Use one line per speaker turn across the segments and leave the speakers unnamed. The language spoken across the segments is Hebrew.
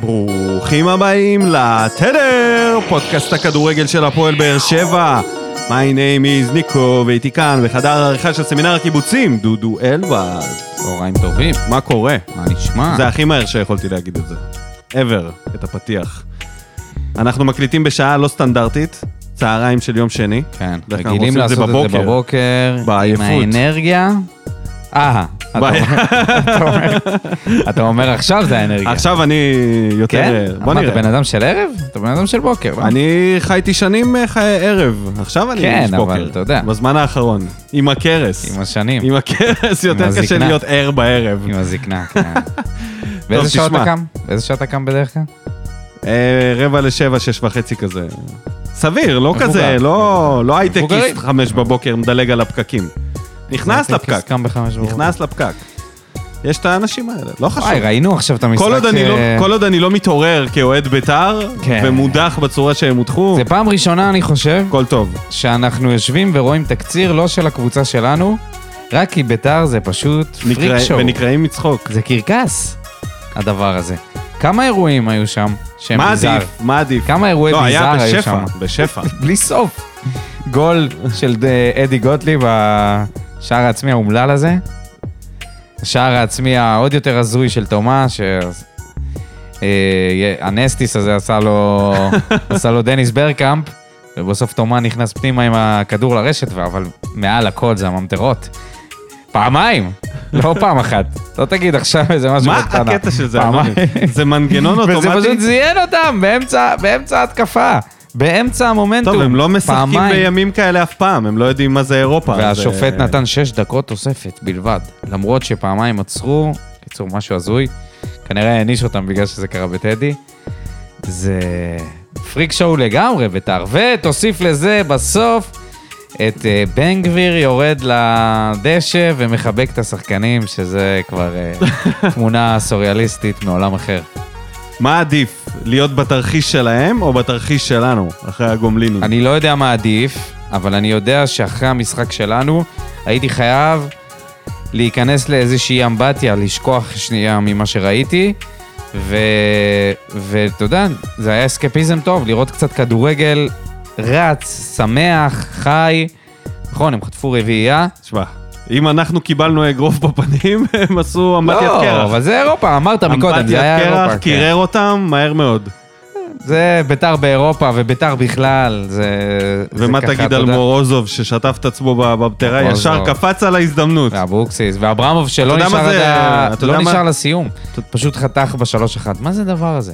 ברוכים הבאים לתדר, פודקאסט הכדורגל של הפועל באר שבע. My name is ניקו, ואיתי כאן בחדר העריכה של סמינר הקיבוצים, דודו אלבז.
צהריים טובים,
מה קורה?
מה נשמע?
זה הכי מהר שיכולתי להגיד את זה. ever, את הפתיח. אנחנו מקליטים בשעה לא סטנדרטית, צהריים של יום שני.
כן,
בדרך כלל
רגילים
אנחנו עושים
לעשות את זה בבוקר,
בעייפות.
עם האנרגיה. אה, אתה
ביי.
אומר- אתה אומר- אתה אומר עכשיו זה האנרגיה.
עכשיו אני יותר...
כן?
בוא
מה,
נראה.
אתה בן אדם של ערב? אתה בן אדם של בוקר, לא?
אני חייתי שנים אה, חיי ערב, עכשיו אני
כן,
איש
אבל
בוקר.
אתה יודע.
בזמן האחרון. עם הכרס.
עם השנים,
עם הכרס יותר קשה
הזקנה.
להיות ער בערב.
עם הזקנה, כן. באיזה שעה
תשמע.
אתה קם? באיזה שעה אתה קם בדרך כלל?
אה, רבע לשבע, שש וחצי כזה. סביר, לא
מבוגר.
כזה, לא לא
מבוגרים.
הייטקיסט חמש בבוקר מדלג על הפקקים. נכנס
הייתי
לפקק,
קם בחמש בבוקר.
נכנס לפקק. יש את האנשים האלה, לא חשוב.
וואי, ראינו עכשיו את המשחק אה,
כל עוד אני
ש-
לא- כל עוד אני לא מתעורר כאוהד בית"ר,
כן.
ומודח בצורה שהם הודחו,
זה פעם ראשונה, אני חושב,
הכל טוב.
שאנחנו יושבים ורואים תקציר לא של הקבוצה שלנו, רק כי ביתר זה פשוט פריק
נקרא-
שואו.
ונקרעים מצחוק.
זה קרקס, הדבר הזה. כמה אירועים היו שם שהם
מה
ביזאר?
עדיף? מה עדיף?
כמה אירועי
לא, היה
ביזאר היו
בשפע,
שם?
בשפע.
בלי סוף. גול של אה, אדי גוטליב, השער העצמי האומלל הזה. השער העצמי העוד יותר הזוי של תומה, ש... אה, הנסטיס הזה עשה לו, עשה לו דניס ברקאמפ, ובסוף תומה נכנס פנימה עם הכדור לרשת, אבל מעל הכל זה הממטרות. פעמיים, לא פעם אחת. לא תגיד עכשיו איזה משהו
מה
בקטנה.
הקטע של זה? לא
פעמיים.
אדוני? זה מנגנון
וזה
אוטומטי?
פשוט זיין אותם באמצע, באמצע התקפה, באמצע המומנטום.
טוב, הם לא משחקים
פעמיים.
בימים כאלה אף פעם, הם לא יודעים מה זה אירופה. אז,
והשופט
אה,
נתן שש דקות תוספת בלבד, למרות שפעמיים עצרו, קיצור, משהו הזוי. כנראה העניש אותם בגלל שזה קרה בטדי. זה פריק שואו לגמרי בית"ר. ותוסיף לזה בסוף את אה, בן גביר יורד לדשא ומחבק את השחקנים, שזה כבר אה, תמונה סוריאליסטית מעולם אחר.
מה עדיף, להיות בתרחיש שלהם או בתרחיש שלנו, אחרי הגומלינים?
אני לא יודע מה עדיף, אבל אני יודע שאחרי המשחק שלנו, הייתי חייב להיכנס לאיזושהי אמבטיה, לשכוח שנייה ממה שראיתי, ו... ואתה יודע, זה היה אסקפיזם טוב, לראות קצת כדורגל רץ, שמח, חי. נכון, הם חטפו רביעייה.
תשמע, אם אנחנו קיבלנו אגרוף בפנים, הם עשו אמבטיית קרח.
לא, אבל זה אירופה, אמרת מקודם, זה היה
אמבטיית
אירופה.
קרח
כן.
קירר אותם מהר מאוד.
זה ביתר באירופה וביתר בכלל, זה... זה
ומה
ככה,
תגיד
אתה
על
יודע.
מורוזוב ששטף את עצמו בבטרה,
מורוזוב. אה,
ישר קפץ על ההזדמנות.
ואבוקסיס, ואברמוב שלא
אתה יודע
נשאר,
מה
עד
זה-
ה...
אתה
לא
יודע מה-
נשאר לסיום, פשוט חתך בשלוש אחת. מה זה הדבר הזה?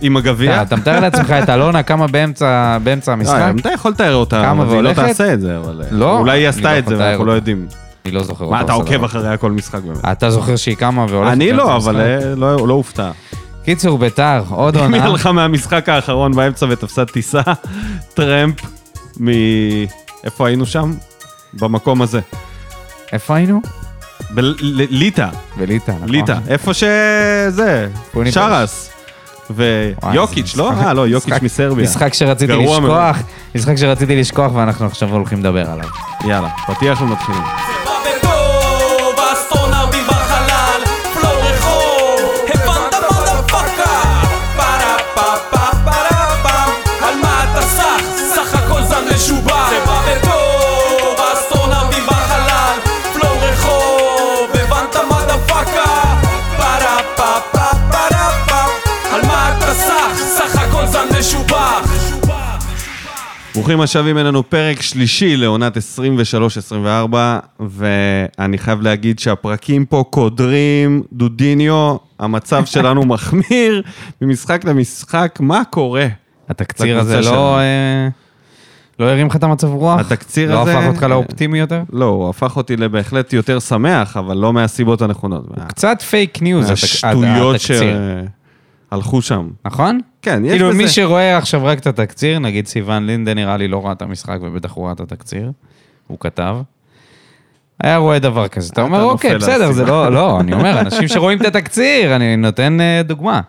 עם הגביע.
אתה מתאר לעצמך את אלונה קמה באמצע, באמצע
אה,
המשחק?
אתה יכול לתאר אותה,
קמה
אבל היא לא
והולכת?
תעשה את זה, אבל... אה,
לא,
אולי היא
אני לא
עשתה
יכול
את זה,
לתאר
ואנחנו לא
אותה.
יודעים.
אני לא זוכר.
מה,
אותו
אתה
בסדר.
עוקב אחריה כל משחק באמת?
אתה זוכר שהיא קמה והולכת?
אני
באמצע
לא,
המשחק?
אבל אה, לא לא הופתע.
קיצור, ביתר, עוד
אם היא
עונה.
הלכה מהמשחק האחרון באמצע ותפסה טיסה, טרמפ, מ... איפה היינו שם? במקום הזה.
איפה היינו?
בליטא,
בליטא, נכון?
ליטא. איפה שזה,
פוניבז'.
שרס.
וואי,
ויוקיץ',
זה
לא?
משחק-
אה, לא, יוקיץ'
משחק-
מסרביה.
משחק שרציתי
גרוע מאוד.
לשכוח, משחק שרציתי לשכוח ואנחנו עכשיו הולכים לדבר עליו.
יאללה, פתיח ומתחילים.
בא בטוב, האסטרונאוטים בחלל, פלואו רחוב, הבנת מה דה פאקה? פרה פה פה פרה פם, על מה אתה סח? סך הכל זן משובח. זה בא בטוב, האסטרונאוטים בחלל, פלואו רחוב, הבנת מה דה פאקה? פרה פה פה פרה פם, על מה אתה סח? סך הכל זן משובח.
ברוכים השבים אלינו פרק שלישי לעונת 23-24, ואני חייב להגיד שהפרקים פה קודרים, דודיניו, המצב שלנו מחמיר, ממשחק למשחק, מה קורה?
התקציר
לקבוצה
הזה
שלנו.
לא... אה, לא הרים לך את המצב רוח?
התקציר הזה-
לא הפך אותך לאופטימי יותר?
לא, הוא הפך אותי לבהחלט יותר שמח, אבל לא מהסיבות הנכונות. מה-
קצת פייק ניוז, התק-
השטויות
התקציר,
שהלכו שם.
נכון?
כן, יש
כאילו מי
בזה.
שרואה עכשיו רק את התקציר, נגיד סיוון לינדן נראה לי לא ראה את המשחק ובטח הוא ראה את התקציר, הוא כתב. היה רואה דבר כזה, אתה אומר
נופל
אוקיי,
על
בסדר, זה
הסיוון."
לא, לא, אני אומר, אנשים שרואים את התקציר, אני נותן אה, דוגמה.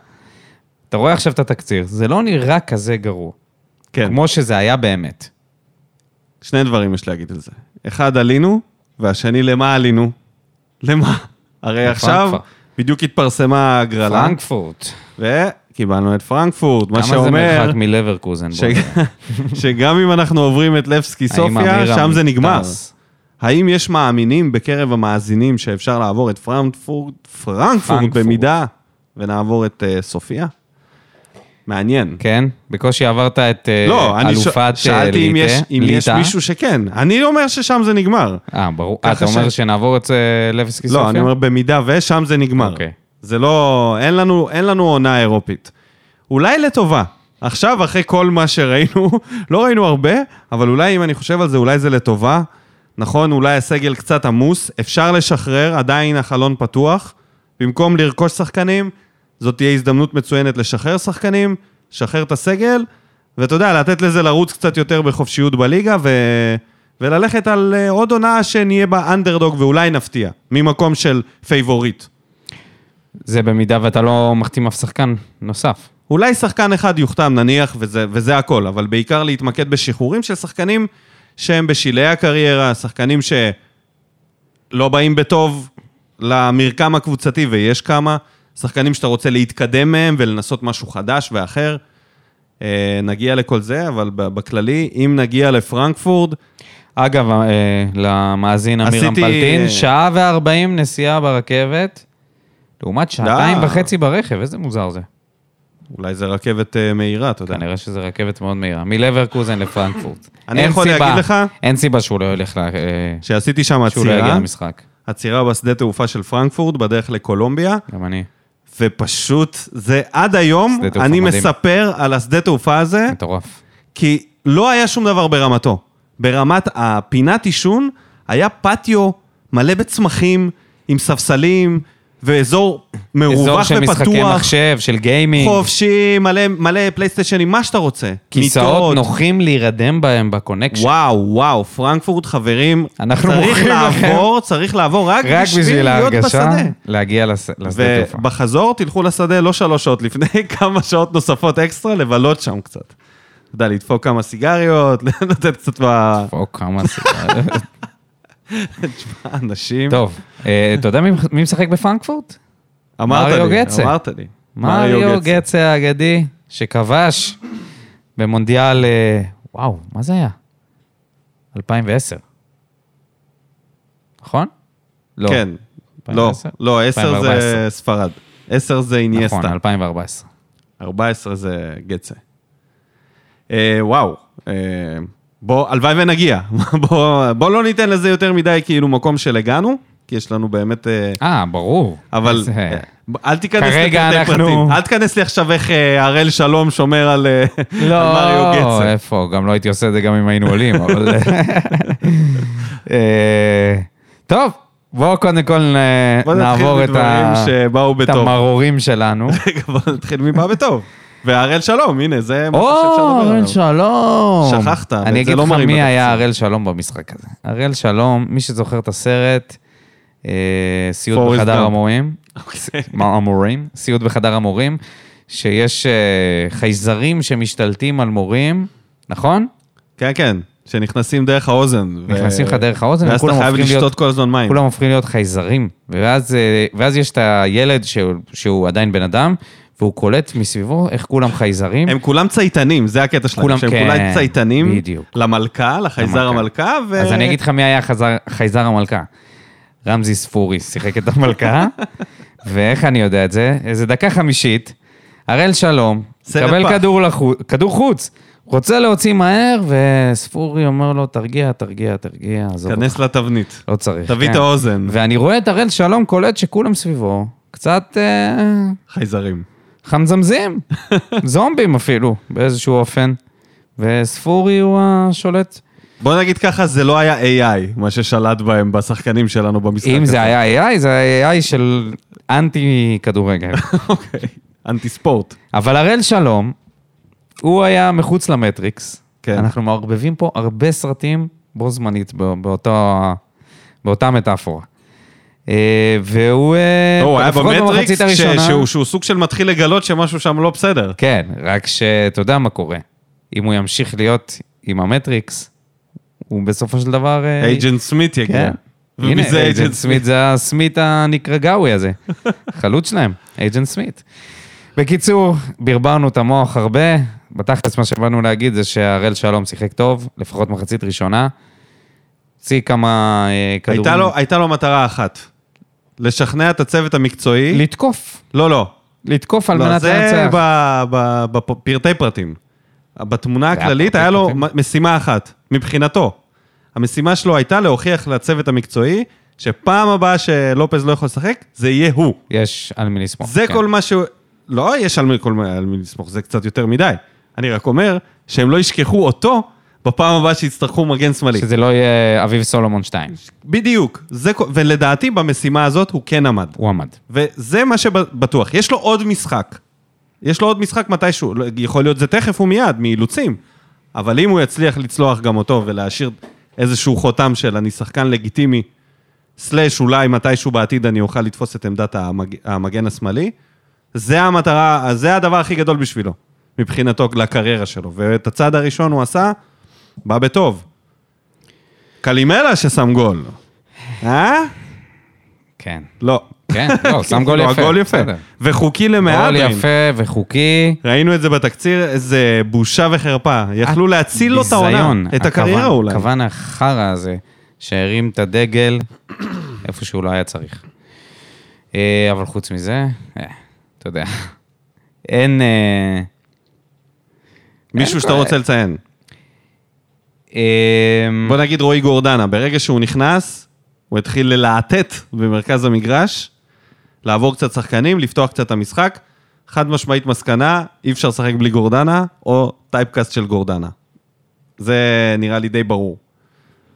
אתה רואה עכשיו את התקציר, זה לא נראה כזה גרוע,
כן,
כמו שזה היה באמת.
שני דברים יש להגיד על זה. אחד, עלינו, והשני, למה עלינו? למה? הרי עכשיו
לפרנקפורט.
בדיוק התפרסמה ההגרלה.
פרנקפורט.
קיבלנו את פרנקפורט, מה
כמה זה
שאומר
מרחק מלברקוזן? בוא
ש-
נראה.
שגם אם אנחנו עוברים את לבסקי
האם
סופיה,
אמירם
שם זה נגמר.
טס?
האם יש מאמינים בקרב המאזינים שאפשר לעבור את פרנקפורט, פרנקפורט
פרנקפורט.
במידה, ונעבור את אה, סופיה? מעניין.
כן? בקושי עברת את אה,
לא, אני ש-
אלופת אה,
שאלתי אם
ליטא-
יש- אם יש
ליטא.
מישהו שכן. אני אומר ששם זה נגמר.
אה, ברור. אה, אתה
ככה ש-
אומר שנעבור את אה, לבסקי סופיה?
לא, אני אומר במידה ושם זה נגמר.
אוקיי.
זה לא, אין לנו, אין לנו עונה אירופית. אולי לטובה. עכשיו, אחרי כל מה שראינו, לא ראינו הרבה, אבל אולי אם אני חושב על זה, אולי זה לטובה. נכון, אולי הסגל קצת עמוס, אפשר לשחרר, עדיין החלון פתוח. במקום לרכוש שחקנים, זאת תהיה הזדמנות מצוינת לשחרר שחקנים, לשחרר את הסגל, ואתה יודע, לתת לזה לרוץ קצת יותר בחופשיות בליגה, ו... וללכת על אה, עוד עונה שנהיה בה אנדרדוג ואולי נפתיע, ממקום של פייבוריט.
זה במידה ואתה לא מחתים אף שחקן נוסף.
אולי שחקן אחד יוחתם נניח, וזה, וזה הכל, אבל בעיקר להתמקד בשחרורים של שחקנים שהם בשלהי הקריירה, שחקנים שלא באים בטוב למרקם הקבוצתי, ויש כמה, שחקנים שאתה רוצה להתקדם מהם ולנסות משהו חדש ואחר. אה, נגיע לכל זה, אבל ב- בכללי, אם נגיע לפרנקפורד,
אגב, אה, למאזין אמירם
עשיתי, אה,
פלטין, שעה וארבעים נסיעה ברכבת, לעומת שעתיים
די.
וחצי ברכב, איזה מוזר זה.
אולי זה רכבת אה, מהירה, אתה יודע.
כנראה שזו רכבת מאוד מהירה. מלברקוזן לפרנקפורט.
אני
אין
יכול
סיבה-
להגיד לך-
אין סיבה שהוא לא ילך, ל- אה,
שעשיתי שם
שהוא לא יגיע
עצירה,
למשחק.
עצירה בשדה תעופה של פרנקפורד בדרך לקולומביה.
גם אני.
ופשוט, זה עד היום,
שדה תעופה
אני
מדהים.
מספר על השדה תעופה הזה,
מטורף.
כי לא היה שום דבר ברמתו. ברמת הפינת עישון, היה פטיו מלא בצמחים, עם ספסלים, ואזור
אזור
מרווח
של משחקי
ופתוח,
מחשב, של גיימינג,
חופשי, מלא, מלא פלייסטיישנים, מה שאתה רוצה.
כיסאות
מיטות.
נוחים להירדם בהם בקונקשן.
וואו, וואו, פרנקפורט, חברים,
אנחנו
צריך
מוכרים לכם.
לעבור, צריך לעבור רק,
רק בשביל
להיות
ההרגשה,
בשדה.
להגיע לס- לשדה תעופה.
ובחזור תלכו לשדה לא שלוש שעות לפני, כמה שעות נוספות אקסטרה, לבלות שם קצת. אתה יודע, לדפוק כמה סיגריות, לתת קצת
או כמה סיבה.
באנשים.
טוב, אה, אתה יודע מי- מי משחק בפרנקפורט?
אמרת
מריו
לי,
גצה.
אמרת לי.
מריו גצה האגדי, שכבש במונדיאל, אה, וואו, מה זה היה? 2010. נכון? לא.
כן. לא,
2010?
לא, עשר
2014.
זה ספרד. עשר זה
נכון,
איניאסטה.
2014.
14 זה גצה. אה, וואו, אה, בוא, הלוואי ונגיע. בוא, בוא לא ניתן לזה יותר מדי כאילו מקום של הגענו, כי יש לנו באמת... אה,
אה, ברור.
אבל
אז, אה,
אל תיכנס
כרגע
לפרטי
אנחנו-
פרטים. אל תיכנס לי עכשיו איך אה, הראל שלום שומר על אה, על מריו
לא,
גצה.
איפה, גם לא הייתי עושה את זה גם אם היינו עולים, אבל... אה, טוב, בואו קודם כל אה,
בוא נתחיל
נעבור את ה-
בדברים שבאו
את
בטוב.
המרורים שלנו.
רגע, בוא נתחיל מבא בטוב. והראל שלום, הנה, זה משהו שאפשר
או,
לדבר
הראל
עליו.
שלום.
שכחת, ואת זה
אני אגיד
לא
לך
מראים
מי
בתקציב.
היה הראל שלום במשחק הזה. הראל שלום, מי שזוכר את הסרט, אה, סיוט
Forrest
בחדר
Gump.
המורים,
אוקיי.
מה המורים? סיוט בחדר המורים, שיש אה, חייזרים שמשתלטים על מורים, נכון?
כן, כן, שנכנסים דרך האוזן. ו-
נכנסים לך דרך האוזן,
ואז אתה
וכולם
חייב
הופכים להיות-
לשתות כל הזמן מים.
כולם הופכים להיות חייזרים, ואז, אה, ואז יש את הילד שהוא, שהוא עדיין בן אדם, והוא קולט מסביבו איך כולם חייזרים.
הם כולם צייתנים, זה הקטע שלהם.
כולם-
שהם
כן,
כולם צייתנים.
בדיוק.
למלכה, לחייזר
למלכה.
המלכה, ו...
אז אני אגיד לך מי היה חזר, חייזר המלכה. רמזי ספורי שיחק את המלכה, ואיך אני יודע את זה? איזה דקה חמישית, הראל שלום,
סרט
מקבל
פח.
כדור, לחו, כדור חוץ, רוצה להוציא מהר, וספורי אומר לו, תרגיע, תרגיע, תרגיע, עזוב אותך,
כנס לתבנית.
לא צריך.
תביא את
כן.
האוזן.
ואני רואה את הראל שלום קולט שכולם סביבו, קצת אה,
חייזרים.
חמזמזים, זומבים אפילו, באיזשהו אופן, וספורי הוא השולט.
בוא נגיד ככה, זה לא היה AI, מה ששלט בהם בשחקנים שלנו במשחק הזה.
אם זה היה AI, זה היה AI של אנטי כדורגל.
אוקיי. אנטי ספורט.
אבל הראל שלום, הוא היה מחוץ למטריקס.
כן.
אנחנו מערבבים פה הרבה סרטים בו זמנית, בא- באותו, באותה מטאפורה. אה, והוא... אה,
לא, הוא היה
לפחות במחצית
במטריקס, ש-
הראשונה-
שהוא- שהוא סוג של מתחיל לגלות שמשהו שם לא בסדר.
כן, רק שאתה יודע מה קורה. אם הוא ימשיך להיות עם המטריקס, הוא בסופו של דבר... אה,
אייג'נט סמית יגיע.
כן. הנה,
ומי זה
אייג'נט סמית זה הסמית הנקרגאווי הזה. חלוץ שלהם, אייג'נט סמית. בקיצור, ברברנו את המוח הרבה. בתכלס מה שבאנו להגיד זה שהראל שלום שיחק טוב, לפחות מחצית ראשונה. הוציא כמה אה, כדורים.
הייתה לו- הייתה לו מטרה אחת, לשכנע את הצוות המקצועי,
לתקוף.
לא, לא,
לתקוף על
לא,
מנת
זה
לנצח.
ב- ב- בפרטי פרטים. בתמונה
זה
הכללית
הפרטי
היה לו
פרטים.
מ- משימה אחת, מבחינתו. המשימה שלו הייתה להוכיח לצוות המקצועי שפעם הבאה שלופז לא יכול לשחק, זה יהיה הוא.
יש על מי לסמוך.
זה
כן.
כל מה ש... לא, יש על מי, כל... מה- על מי לסמוך, זה קצת יותר מדי. אני רק אומר שהם לא ישכחו אותו בפעם הבאה שיצטרכו מגן שמאלי.
שזה לא יהיה אביב סולומון 2.
בדיוק. זה... כל- ולדעתי במשימה הזאת הוא כן עמד.
הוא עמד.
וזה מה שבטוח. יש לו עוד משחק. יש לו עוד משחק מתישהו. לא- יכול להיות זה תכף ומיד, מאילוצים. אבל אם הוא יצליח לצלוח גם אותו ולהשאיר איזשהו חותם של אני שחקן לגיטימי, סלאש אולי מתישהו בעתיד אני אוכל לתפוס את עמדת המג... המגן השמאלי, זה המטרה, זה הדבר הכי גדול בשבילו, מבחינתו לקריירה שלו. ואת הצעד הראשון הוא עשה, בא בטוב. קלימלה ששם גול. אה?
כן.
לא.
כן, לא, שם גול
לא,
יפה.
הגול יפה.
בסדר.
וחוקי
גול
למהדרין.
יפה וחוקי.
ראינו את זה בתקציר, זה בושה וחרפה. יכלו להציל לו את העונה,
אה, ביזיון. אה,
את הקריירה
הכוון-
אולי.
הכוון החרא הזה, שהרים את הדגל איפה שהוא לא היה צריך. אה, אבל חוץ מזה, אה, אתה יודע, אין... אה,
מישהו
אין
שאתה
בעיה.
רוצה לציין.
אה,
בוא נגיד רועי גורדנה, ברגע שהוא נכנס, הוא התחיל ללהטט במרכז המגרש, לעבור קצת שחקנים, לפתוח קצת את המשחק. חד משמעית מסקנה, אי אפשר לשחק בלי גורדנה, או טייפקאסט של גורדנה. זה נראה לי די ברור.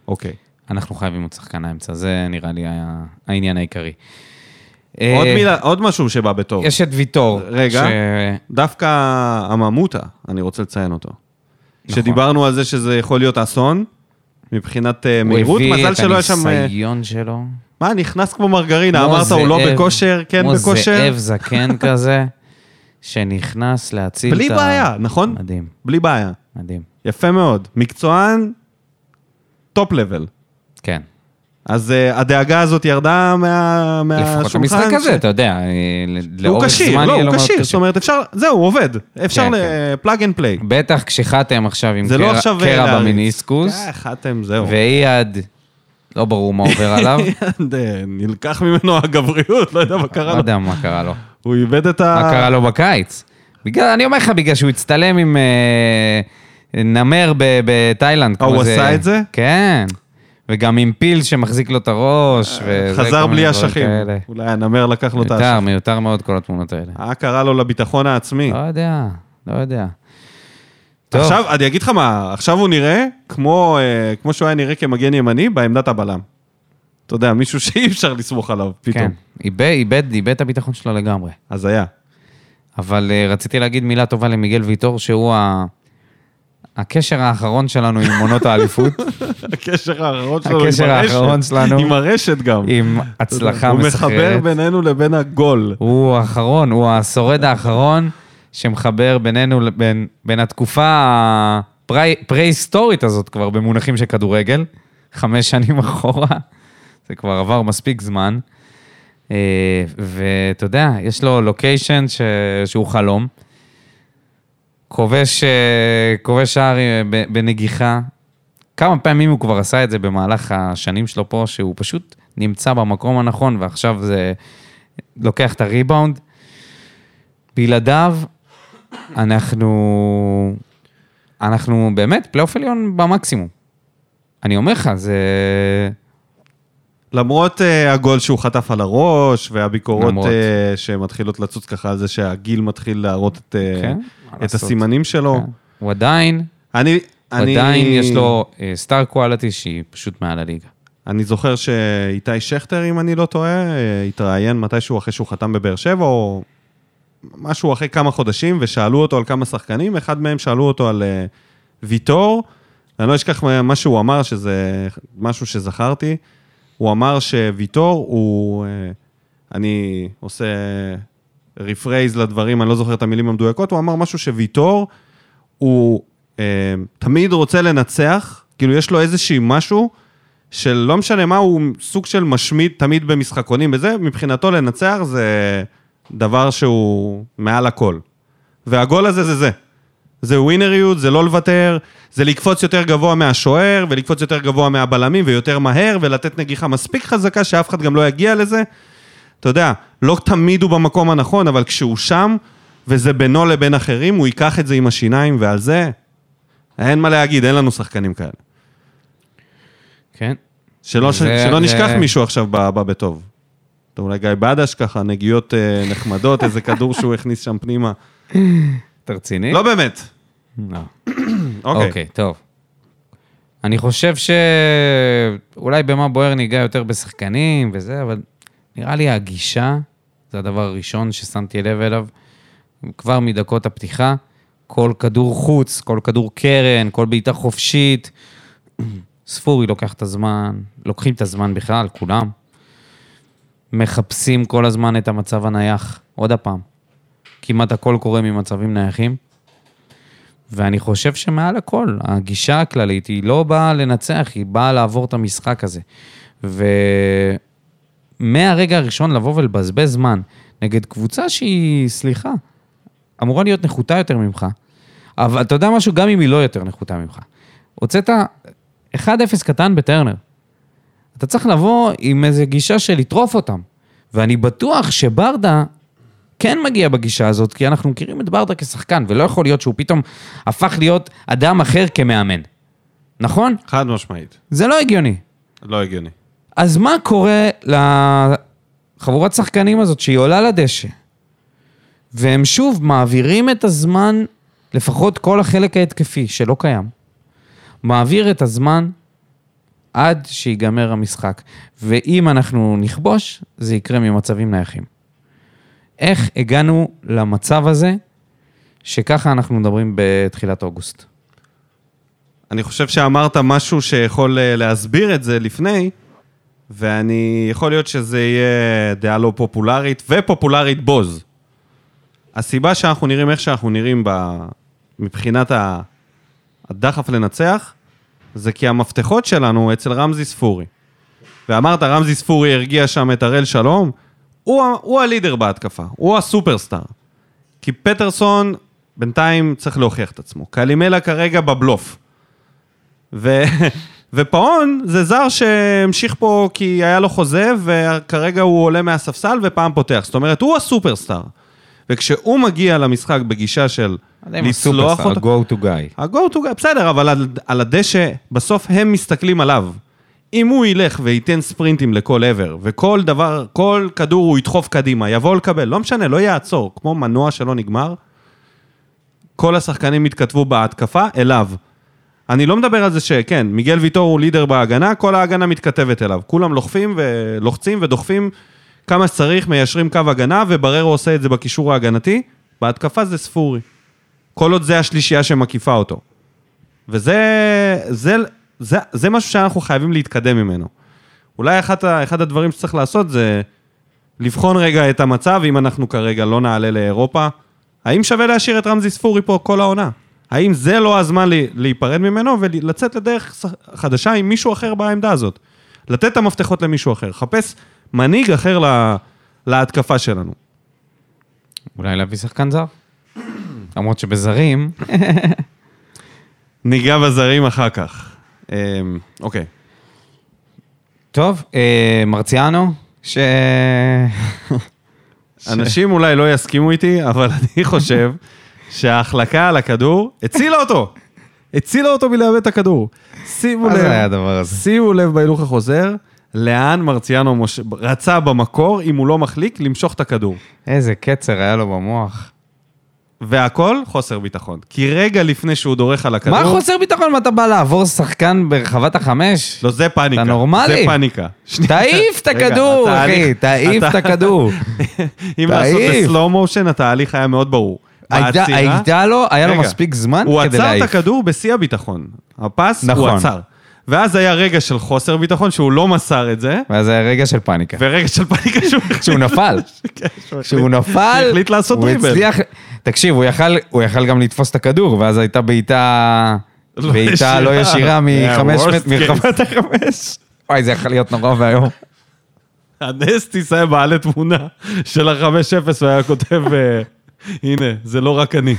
אוקיי.
אנחנו חייבים עוד שחקן האמצע, זה נראה לי היה העניין העיקרי. אה,
עוד מילה, עוד משהו שבא בטוב.
יש את ויטור.
רגע.
ש-
דווקא הממותה, אני רוצה לציין אותו.
נכון.
שדיברנו על זה שזה יכול להיות אסון, מבחינת אה, מהירות, מזל שלא היה שם...
הוא הביא
אה,
את הניסיון שלו.
מה, נכנס כמו מרגרינה,
כמו
אמרת הוא לא
זאב-
בכושר, כן
כמו
בכושר,
זאב זקן כזה, שנכנס להציל את ה...
בלי בעיה, נכון?
מדהים,
בלי בעיה.
מדהים.
יפה מאוד. מקצוען, טופ לבל.
כן.
אז אה, הדאגה הזאת ירדה מה- מהשולחן.
לפחות במשחק
אה, ש-
הזה, אתה יודע, אה, ל-
הוא
לאורך
כשיר,
זמן
לא,
יהיה לו
הוא
מאוד
כשיר, זאת
קשה.
אומרת, אפשר, זהו, הוא עובד. אפשר
כן, כן.
לפלאג אנד פליי.
בטח כשחתם עכשיו עם
זה לא
קרע-
עכשיו... אה,
קרע
להריץ.
במיניסקוס,
אה, חתם, זהו.
ואייד, לא ברור מה עובר עליו,
אה, נלקח ממנו הגבריות, לא יודע מה
לא
קרה לו.
יודע מה קרה לו.
הוא איבד את ה...
מה קרה לו בקיץ. בגלל, אני אומר לך, בגלל שהוא הצטלם עם אה, נמר ב- בתאילנד.
אה, הוא
כמו
עשה את זה?
כן. וגם עם פיל שמחזיק לו את הראש. וזה, כל
אה, חזר
מיני
בלי
דברים
אשכים.
כאלה.
אולי הנמר לקח לו את
מיותר,
האשכים.
מיותר מאוד כל התמונות האלה.
אה, קרה לו לביטחון העצמי.
לא יודע, לא יודע. טוב,
עכשיו, אני אגיד לך מה, עכשיו הוא נראה כמו אה, כמו שהוא היה נראה כמגן ימני בעמדת הבלם. אתה יודע, מישהו שאי אפשר לסמוך עליו
כן,
פתאום.
איבד, איבד, איבד את הביטחון שלו לגמרי.
אז היה.
אבל אה, רציתי להגיד מילה טובה למיגל ויטור, שהוא ה... הקשר האחרון שלנו עם עונות האליפות,
הקשר האחרון שלנו עם הרשת.
הקשר האחרון שלנו.
עם הרשת גם.
עם הצלחה
הוא מחבר
מסחררת.
בינינו לבין הגול.
הוא האחרון, הוא השורד האחרון שמחבר בינינו לבין בין התקופה הפרה-היסטורית הזאת כבר במונחים של כדורגל, חמש שנים אחורה, זה כבר עבר מספיק זמן. אה, ואתה יודע, יש לו לוקיישן ש... שהוא חלום. כובש, אה, כובש שער אה, ב- בנגיחה. כמה פעמים הוא כבר עשה את זה במהלך השנים שלו פה, שהוא פשוט נמצא במקום הנכון, ועכשיו זה לוקח את הריבאונד. בלעדיו, אנחנו... אנחנו באמת פלייאוף עליון במקסימום. אני אומר לך, זה...
למרות אה, הגול שהוא חטף על הראש, והביקורות
למרות.
אה, שמתחילות לצוץ ככה על זה שהגיל מתחיל להראות את, אה,
כן, מה
את
לעשות. כן.
הסימנים שלו.
הוא עדיין,
אני,
אני...
אני,
עדיין יש לו סטאר קואליטי שהיא פשוט מעל הליגה.
אני זוכר שאיתי שכטר, אם אני לא טועה, אה, התראיין מתישהו אחרי שהוא חתם בבאר שבע, או משהו אחרי כמה חודשים, ושאלו אותו על כמה שחקנים, אחד מהם שאלו אותו על אה, ויטור, אני לא אשכח מה- מה שהוא אמר, שזה משהו שזכרתי, הוא אמר שוויטור הוא... אה, אני עושה רפרייז לדברים, אני לא זוכר את המילים המדויקות, הוא אמר משהו שוויטור, הוא אה, תמיד רוצה לנצח, כאילו יש לו איזשהי משהו, לא שלא משנה מה, הוא סוג של משמיד תמיד במשחקונים וזה, מבחינתו לנצח זה דבר שהוא מעל הכל. והגול הזה זה זה. זה ווינריות, זה לא לוותר, זה לקפוץ יותר גבוה מהשוער, ולקפוץ יותר גבוה מהבלמים, ויותר מהר, ולתת נגיחה מספיק חזקה שאף אחד גם לא יגיע לזה. אתה יודע, לא תמיד הוא במקום הנכון, אבל כשהוא שם, וזה בינו לבין אחרים, הוא ייקח את זה עם השיניים, ועל זה אין מה להגיד, אין לנו שחקנים כאלה.
כן.
שלא, ש...
זה-
שלא
זה-
נשכח מישהו עכשיו ב- בא בטוב. אתה אולי גיא בדש ככה, נגיעות אה, נחמדות, איזה כדור שהוא הכניס שם פנימה.
אתה רציני?
לא באמת.
לא.
אוקיי.
אוקיי, טוב. אני חושב ש- אולי במה בוער ניגע יותר בשחקנים וזה, אבל נראה לי הגישה, זה הדבר הראשון ששמתי לב אליו, כבר מדקות הפתיחה, כל כדור חוץ, כל כדור קרן, כל בעיטה חופשית. ספורי לוקח את הזמן, לוקחים את הזמן בכלל, כולם. מחפשים כל הזמן את המצב הנייח, עוד הפעם. כמעט הכל קורה ממצבים נייחים. ואני חושב שמעל הכל, הגישה הכללית היא לא באה לנצח, היא באה לעבור את המשחק הזה. ומהרגע הראשון לבוא ולבזבז זמן נגד קבוצה שהיא, סליחה, אמורה להיות נחותה יותר ממך. אבל אתה יודע משהו? גם אם היא לא יותר נחותה ממך. הוצאת 1-0 קטן בטרנר. אתה צריך לבוא עם איזו גישה של לטרוף אותם. ואני בטוח שברדה כן מגיע בגישה הזאת, כי אנחנו מכירים את ברדה כשחקן, ולא יכול להיות שהוא פתאום הפך להיות אדם אחר כמאמן. נכון?
חד משמעית.
זה לא הגיוני.
לא הגיוני.
אז מה קורה לחבורת שחקנים הזאת שהיא עולה לדשא, והם שוב מעבירים את הזמן, לפחות כל החלק ההתקפי שלא קיים, מעביר את הזמן עד שיגמר המשחק. ואם אנחנו נכבוש, זה יקרה ממצבים נייחים. איך הגענו למצב הזה, שככה אנחנו מדברים בתחילת אוגוסט?
אני חושב שאמרת משהו שיכול אה, להסביר את זה לפני, ואני, יכול להיות שזה יהיה דעה לא פופולרית, ופופולרית בוז. הסיבה שאנחנו נראים איך שאנחנו נראים ב... מבחינת ה- הדחף לנצח, זה כי המפתחות שלנו אצל רמזי ספורי. ואמרת, רמזי ספורי הרגיע שם את הראל שלום, הוא, ה- הוא הלידר בהתקפה, הוא הסופרסטאר. כי פטרסון בינתיים צריך להוכיח את עצמו. קלימלה כרגע בבלוף. ו... ופאון זה זר שהמשיך פה כי היה לו חוזה, וכרגע הוא עולה מהספסל ופעם פותח. זאת אומרת, הוא הסופרסטאר. וכשהוא מגיע למשחק בגישה של לצלוח אותו...
ה-go to guy.
ה-go to guy, בסדר, אבל על, על הדשא, בסוף הם מסתכלים עליו. אם הוא ילך וייתן ספרינטים לכל עבר, וכל דבר, כל כדור הוא ידחוף קדימה, יבוא לקבל, לא משנה, לא יעצור, כמו מנוע שלא נגמר, כל השחקנים יתכתבו בהתקפה אליו. אני לא מדבר על זה שכן, מיגל ויטור הוא לידר בהגנה, כל ההגנה מתכתבת אליו. כולם לוחפים ולוחצים ודוחפים כמה שצריך, מיישרים קו הגנה, ובררו עושה את זה בקישור ההגנתי. בהתקפה זה ספורי. כל עוד זה השלישייה שמקיפה אותו. וזה זה, זה, זה משהו שאנחנו חייבים להתקדם ממנו. אולי אחת, ה- אחד הדברים שצריך לעשות זה לבחון רגע את המצב, אם אנחנו כרגע לא נעלה לאירופה, האם שווה להשאיר את רמזי ספורי פה כל העונה? האם זה לא הזמן לי, להיפרד ממנו ולצאת לדרך ש- חדשה עם מישהו אחר בעמדה הזאת? לתת את המפתחות למישהו אחר, חפש מנהיג אחר לה, להתקפה שלנו.
אולי להביא שחקן זר? למרות שבזרים...
ניגע בזרים אחר כך. אמ, אוקיי.
טוב, אה, מרציאנו, ש...
אנשים אולי לא יסכימו איתי, אבל אני חושב שההחלקה על הכדור הצילה אותו. הצילה אותו מלאבד את הכדור. שימו
מה
לב,
זה היה הדבר הזה?
שימו לב בהילוך החוזר, לאן מרציאנו מוש... רצה במקור, אם הוא לא מחליק, למשוך את הכדור.
איזה קצר היה לו במוח.
והכל חוסר ביטחון. כי רגע לפני שהוא דורך על הכדור...
מה חוסר ביטחון אם אתה בא לעבור שחקן ברחבת החמש?
לא, זה פאניקה.
אתה נורמלי?
זה פאניקה. שנייה.
תעיף את
רגע,
הכדור, אחי,
התהליך-
תעיף את
התה-
הכדור.
אם לעשות
תעיף.
בסלואו מושן, התהליך היה מאוד ברור.
הייתה-
העצירה-
הייתה לו, היה לו
רגע,
מספיק זמן
הוא
כדי
עצר את
להעיף.
הכדור בשיא הביטחון. הפס, הוא
נכון.
עצר. ואז היה רגע של חוסר ביטחון שהוא לא מסר את זה,
ואז היה רגע של פאניקה.
ורגע של פאניקה שהוא החליט-
כשהוא נפל. כשהוא נפל,
כן, הוא החליט לעשות
הוא
דריבל.
הצליח, תקשיב, הוא יכל- הוא יכל גם לתפוס את הכדור, ואז הייתה בעיטה...
לא
בעיטה לא
ישירה.
ישירה
Yeah,
מחמש
worst
מטר,
case.
מרחבת החמש. וואי, זה יכול להיות נורא ואיום.
הנס תישא בעלי תמונה של ה-5-0 והיה כותב, אה, הנה, זה לא רק אני.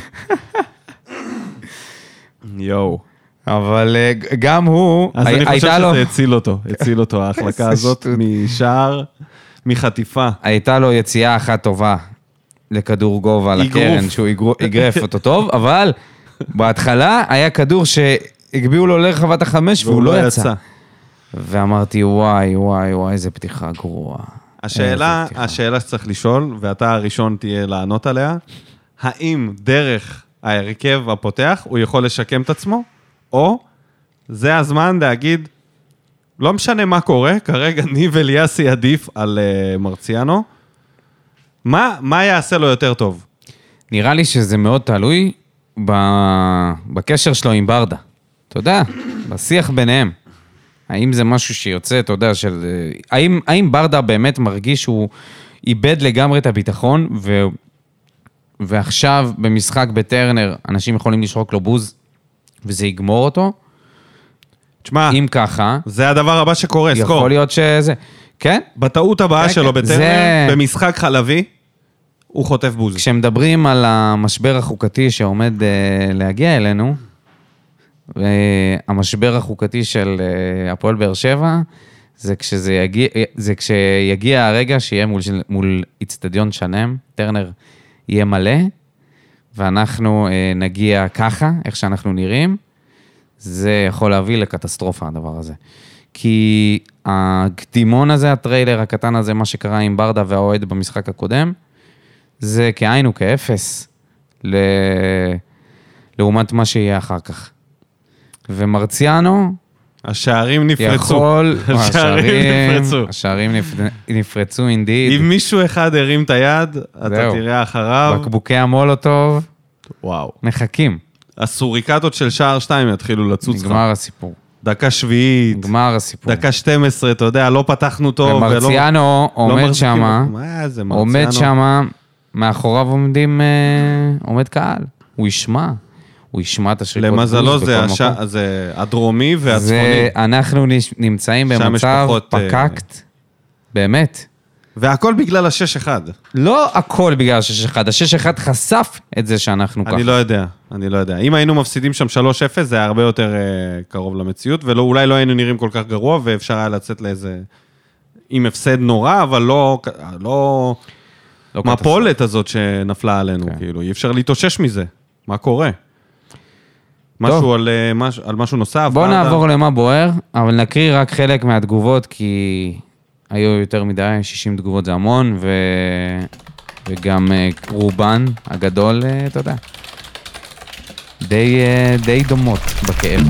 יואו.
אבל אה, ג- גם הוא,
אז
הי-
אני חושב
הייתה לו-
שזה הציל אותו, הציל אותו ההחלקה
איזה
הזאת
שטות.
משער, מחטיפה.
הייתה לו יציאה אחת טובה לכדור גובה,
אגרוף.
לקרן, שהוא אגרו- אגרף אותו טוב, אבל בהתחלה היה כדור שהגביאו לו לרחבת החמש והוא לא יצא. ואמרתי, וואי, וואי, וואי, איזה פתיחה גרועה.
השאלה,
איזה פתיחה.
השאלה שצריך לשאול, ואתה הראשון תהיה לענות עליה, האם דרך ההרכב הפותח הוא יכול לשקם את עצמו, או זה הזמן להגיד, לא משנה מה קורה, כרגע ניב אליאסי עדיף על uh, מרציאנו, מה, מה יעשה לו יותר טוב?
נראה לי שזה מאוד תלוי ב... בקשר שלו עם ברדה. אתה יודע, בשיח ביניהם. האם זה משהו שיוצא, אתה יודע, של... האם, האם ברדה באמת מרגיש שהוא איבד לגמרי את הביטחון, ו... ועכשיו במשחק בטרנר אנשים יכולים לשרוק לו בוז, וזה יגמור אותו?
תשמע,
אם ככה,
אה, זה הדבר הבא שקורה, סקור.
יכול להיות שזה... כן?
בטעות הבאה
כן,
שלו
כן,
בטרנר,
זה-
במשחק חלבי, הוא חוטף בוז.
כשמדברים על המשבר החוקתי שעומד אה, להגיע אלינו, והמשבר החוקתי של אה, הפועל באר שבע, זה, כשזה יגיע, אה, זה כשיגיע הרגע שיהיה מול, מול איצטדיון שלם, טרנר יהיה מלא, ואנחנו אה, נגיע ככה, איך שאנחנו נראים, זה יכול להביא לקטסטרופה, הדבר הזה. כי הקדימון הזה, הטריילר הקטן הזה, מה שקרה עם ברדה והאוהד במשחק הקודם, זה כאין וכאפס ל... לעומת מה שיהיה אחר כך. ומרציאנו
השערים נפרצו.
יכול...
השערים נפרצו.
השערים נפ- נפרצו אינדיד.
אם מישהו אחד הרים את היד, אתה
זהו.
תראה אחריו,
בקבוקי המולוטוב
וואו.
מחכים.
הסוריקטות של שער 2 יתחילו לצוץ לך.
נגמר הסיפור.
דקה שביעית,
נגמר הסיפור.
דקה 12, אתה יודע, לא פתחנו טוב. ולא-
ומרציאנו
לא
עומד
מחזיקים
שמה,
אותו. מה זה מרציאנו?
עומד שמה, מאחוריו עומדים... אה, עומד קהל. הוא ישמע. הוא ישמע את השריקות.
למזלו
בוז
זה
בכל
הש-
מקום.
זה הדרומי והצפוני.
זה, אנחנו נש- נמצאים
שם יש
במצב
פחות, אה,
פקקט, באמת.
והכל בגלל השש אחד.
לא הכל בגלל השש אחד, השש אחד חשף את זה שאנחנו ככה.
אני לא יודע, אני לא יודע. אם היינו מפסידים שם 3-0, זה היה הרבה יותר אה, קרוב למציאות, ואולי לא היינו נראים כל כך גרוע, ואפשר היה לצאת לאיזה... עם הפסד נורא, אבל לא... לא...
לא כל כך.
המפולת הזאת שנפלה עלינו,
כן.
כאילו, אי אפשר להתאושש מזה. מה קורה? משהו על, אה, מש- על משהו נוסף?
בואו
מה אתה-
נעבור למה בוער, אבל נקריא רק חלק מהתגובות, כי היו יותר מדי, 60 תגובות זה המון, ו... וגם אה, רובן הגדול, אה, אתה יודע, די, אה, די דומות בכאב.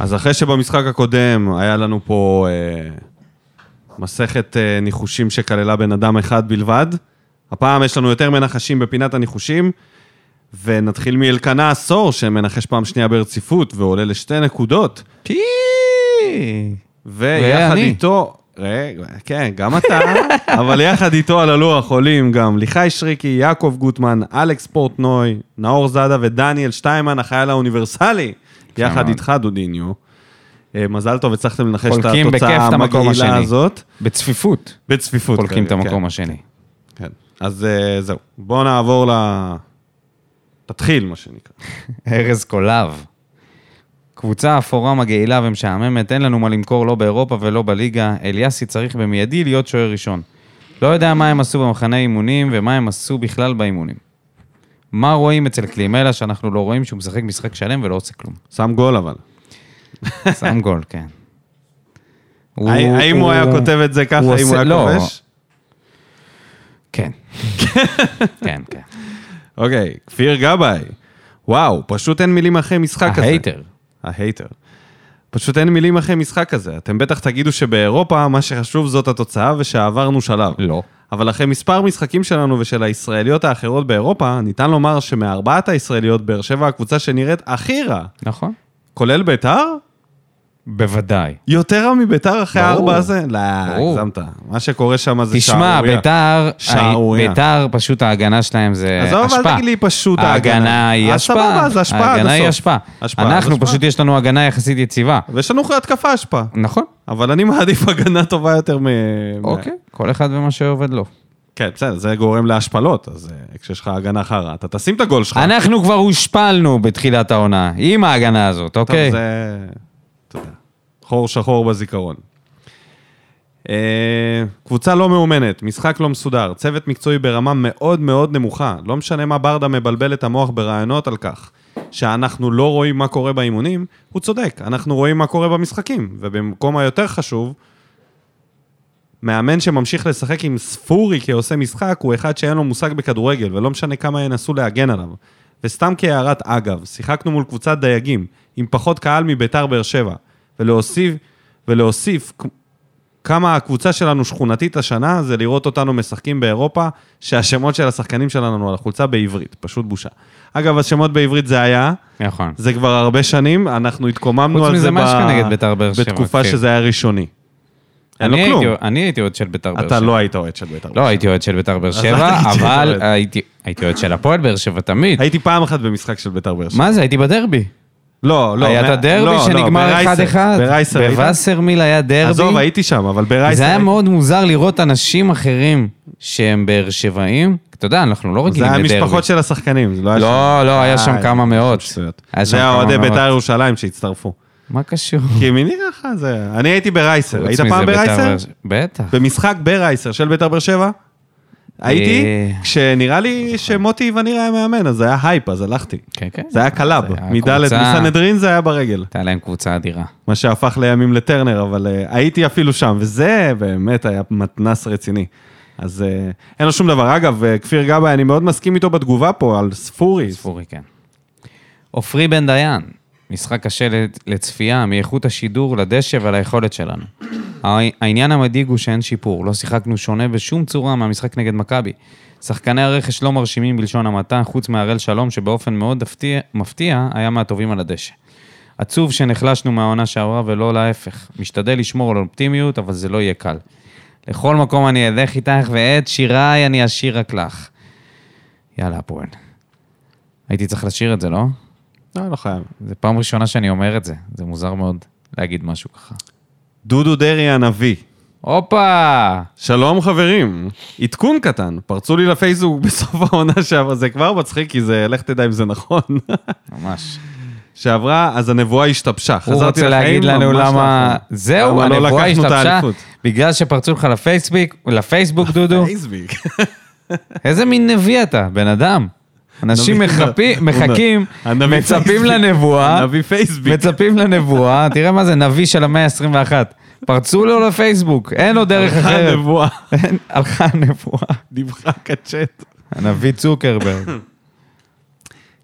אז אחרי שבמשחק הקודם היה לנו פה אה, מסכת אה, ניחושים שכללה בן אדם אחד בלבד, הפעם יש לנו יותר מנחשים בפינת הניחושים, ונתחיל מאלקנה עשור, שמנחש פעם שנייה ברציפות ועולה לשתי נקודות. ויחד
ואני.
איתו, רגע, כן, גם אתה, אבל יחד איתו על הלוח עולים גם ליחי שריקי, יעקב גוטמן, אלכס פורטנוי, נאור זאדה ודניאל שטיימן, החייל האוניברסלי, יחד
כן, מאוד.
איתך, דודיניו. אה, מזל טוב, הצלחתם לנחש את
חולקים בכיף
התוצאה
את המקום
המגעילה
השני.
הזאת.
בצפיפות
בצפיפות.
חולקים את
כרגע,
המקום
כן,
השני.
כן. אז אה, זהו, בואו נעבור ל... תתחיל, מה שנקרא.
ארז קולב. קבוצה אפורה מגעילה ומשעממת, אין לנו מה למכור לא באירופה ולא בליגה. אליאסי צריך במיידי להיות שוער ראשון. לא יודע מה הם עשו במחנה אימונים ומה הם עשו בכלל באימונים. מה רואים אצל קלימלה שאנחנו לא רואים שהוא משחק משחק שלם ולא עושה כלום?
שם גול אבל.
שם גול, כן. הוא-
האם הוא היה כותב את זה ככה, אם הוא
עושה-
היה
לא.
כובש?
כן. כן, כן.
אוקיי, כפיר גבאי. וואו, פשוט אין מילים אחרי משחק כזה.
ההייטר.
ההייטר. פשוט אין מילים אחרי משחק כזה. אתם בטח תגידו שבאירופה מה שחשוב זאת התוצאה ושעברנו שלב.
לא.
אבל אחרי מספר משחקים שלנו ושל הישראליות האחרות באירופה, ניתן לומר שמארבעת הישראליות, באר שבע הקבוצה שנראית הכי רע,
נכון.
כולל ביתר?
בוודאי.
יותר רע מביתר אחרי
ברור.
הארבע הזה? לא,
ברור.
הגזמת. מה שקורה שם זה
תשמע,
שערורייה.
ביתר,
שערורייה.
ביתר, פשוט ההגנה שלהם זה
עזוב,
השפעה.
אל תגיד לי פשוט ההגנה.
היא
אז
השפעה.
סבבה, אז השפעה עד
ההגנה היא
הסוף.
השפעה.
השפעה עד
אנחנו,
השפעה.
פשוט יש לנו הגנה יחסית יציבה.
ויש לנו התקפה השפעה.
נכון,
אבל אני מעדיף הגנה טובה יותר מ...
אוקיי. כל אחד ומה שעובד לו.
כן, בסדר, זה גורם להשפלות, אז אה, כשיש לך הגנה חרא, אתה תשים את הגול שלך.
אנחנו כבר הושפלנו בתחילת העונה, עם ההגנה הזאת,
טוב,
אוקיי?
זה... אתה יודע, חור שחור בזיכרון. אה, קבוצה לא מאומנת, משחק לא מסודר, צוות מקצועי ברמה מאוד מאוד נמוכה. לא משנה מה ברדה מבלבל את המוח ברעיונות על כך שאנחנו לא רואים מה קורה באימונים, הוא צודק, אנחנו רואים מה קורה במשחקים. ובמקום היותר חשוב, מאמן שממשיך לשחק עם ספורי כעושה משחק, הוא אחד שאין לו מושג בכדורגל, ולא משנה כמה ינסו להגן עליו. וסתם כהערת אגב, שיחקנו מול קבוצת דייגים, עם פחות קהל מביתר באר שבע, ולהוסיף, ולהוסיף כ- כמה הקבוצה שלנו שכונתית השנה, זה לראות אותנו משחקים באירופה, שהשמות של השחקנים שלנו על החולצה בעברית, פשוט בושה. אגב, השמות בעברית זה היה,
נכון.
זה כבר הרבה שנים, אנחנו התקוממנו
חוץ
על
מזה,
זה
מה יש לך נגד ביתר באר שבע?
בתקופה
אופיר?
שזה היה ראשוני. אין לו
אני
כלום.
הייתי- אני הייתי אוהד של ביתר באר שבע.
אתה לא היית אוהד של בית"ר.
לא, הייתי אוהד של ביתר באר
אל
שבע,
תגיד שאתה
אבל
אוהד.
הייתי הייתי אוהד של הפועל באר שבע תמיד.
הייתי פעם אחת במשחק של בית"ר באר שבע.
מה זה, הייתי בדרבי.
לא, לא.
היה
מה-
את הדרבי
לא, לא,
שנגמר 1-1.
ברייסר, ברייסר. היית?
בווסרמיל היה דרבי.
עזוב, הייתי שם, אבל ברייסר.
זה היה
הייתי.
מאוד מוזר לראות אנשים אחרים שהם באר שבעים. אתה יודע, אנחנו לא רגילים
זה היה
לדרבי.
משפחות של השחקנים, זה לא היה שם.
לא, לא, היה שם
אה,
כמה מאות.
שטויות.
היה שם
זה היה
כמה
אוהדי
מאות.
בית"ר ירושלים שהצטרפו.
מה קשור?
כי מי נראה לך זה... אני הייתי ברייסר.
חוץ
היית
מזה,
פעם
ביתר
ברייסר?
באר שבע- בטח.
במשחק ברייסר של בית"ר באר שבע? הייתי,
אה.
כשנראה לי שמוטי וניר היה מאמן, אז זה היה הייפ, אז הלכתי.
כן, כן.
זה היה קלאב,
זה היה
מדלת
קבוצה-
מסנהדרין זה היה ברגל.
הייתה להם קבוצה אדירה.
מה שהפך לימים לטרנר, אבל uh, הייתי אפילו שם, וזה באמת היה מתנס רציני. אז uh, אין לו שום דבר. אגב, uh, כפיר גבאי, אני מאוד מסכים איתו בתגובה פה על ספורי.
ספורי, כן. עופרי בן דיין, משחק קשה לת- לצפייה, מאיכות השידור לדשא וליכולת שלנו. העי- העניין המדאיג הוא שאין שיפור, לא שיחקנו שונה בשום צורה מהמשחק נגד מכבי. שחקני הרכש לא מרשימים בלשון המעטה, חוץ מהראל שלום, שבאופן מאוד הפתיע- מפתיע היה מהטובים על הדשא. עצוב שנחלשנו מהעונה שעברה ולא להפך. משתדל לשמור על אופטימיות, אבל זה לא יהיה קל. לכל מקום אני אלך איתך, ואת שיריי אני אשיר רק לך. יאללה, הפועל. הייתי צריך לשיר את זה, לא?
לא, לא חייב.
זו פעם ראשונה שאני אומר את זה. זה מוזר מאוד להגיד משהו ככה.
דודו דרעי הנביא.
הופה!
שלום חברים, עדכון קטן, פרצו לי לפייסבוק בסוף העונה שעברה, זה כבר מצחיק, כי זה, לך תדע אם זה נכון.
ממש.
שעברה, אז הנבואה השתבשה.
הוא
חזרתי
רוצה
לחיים
להגיד לנו
ממש
למה...
לאחרונה.
זהו,
למה לא
הנבואה
לקחנו את
השתבשה
האליפות.
בגלל שפרצו לך לפייסביק, לפייסבוק, דודו.
פייסבוק.
איזה מין נביא אתה, בן אדם. אנשים
נביא-
מחפי-
הוא נ-
מחכים,
הנביא
מצפים
פייסביק.
לנבואה,
הנביא פייסבוק.
מצפים לנבואה, תראה מה זה, נביא של המאה ה-21. פרצו לו לפייסבוק, אין לו דרך אחרת.
הנבואה,
אין- הלכה הנבואה.
נמחק הצ'אט.
הנביא צוקרברג.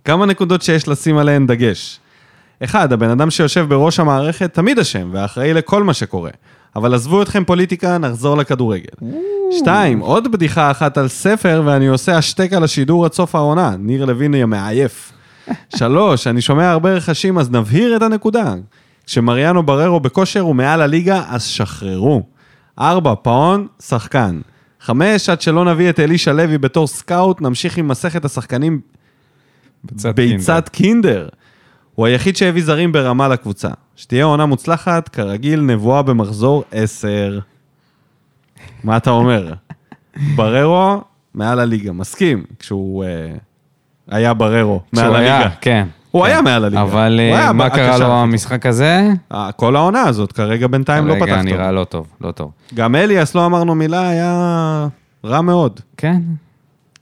כמה נקודות שיש לשים עליהן דגש. אחד, הבן אדם שיושב בראש המערכת תמיד אשם והאחראי לכל מה שקורה. אבל עזבו אתכם פוליטיקה, נחזור לכדורגל. שתיים, עוד בדיחה אחת על ספר ואני עושה השתק על השידור עד סוף העונה. ניר לוין יהיה מעייף. שלוש, אני שומע הרבה רכשים, אז נבהיר את הנקודה. כשמריאנו בררו בכושר הוא מעל הליגה, אז שחררו. ארבע, פאון, שחקן. חמש, עד שלא נביא את אלישע לוי בתור סקאוט, נמשיך עם מסכת השחקנים ביצת קינדר. הוא היחיד שהביא זרים ברמה לקבוצה. שתהיה עונה מוצלחת, כרגיל, נבואה במחזור 10. מה אתה אומר? בררו, מעל הליגה. מסכים, כשהוא אה, היה בררו, מעל
כשהוא היה,
הליגה.
כן.
הוא
כן.
היה מעל הליגה.
אבל
הוא
אה,
היה
מה
הקשר
קרה
הכי
לו
טוב.
המשחק הזה?
אה, כל העונה הזאת, כרגע בינתיים לא
רגע,
פתח טוב.
נראה לא טוב, לא טוב.
גם אליאס, לא אמרנו מילה, היה רע מאוד.
כן,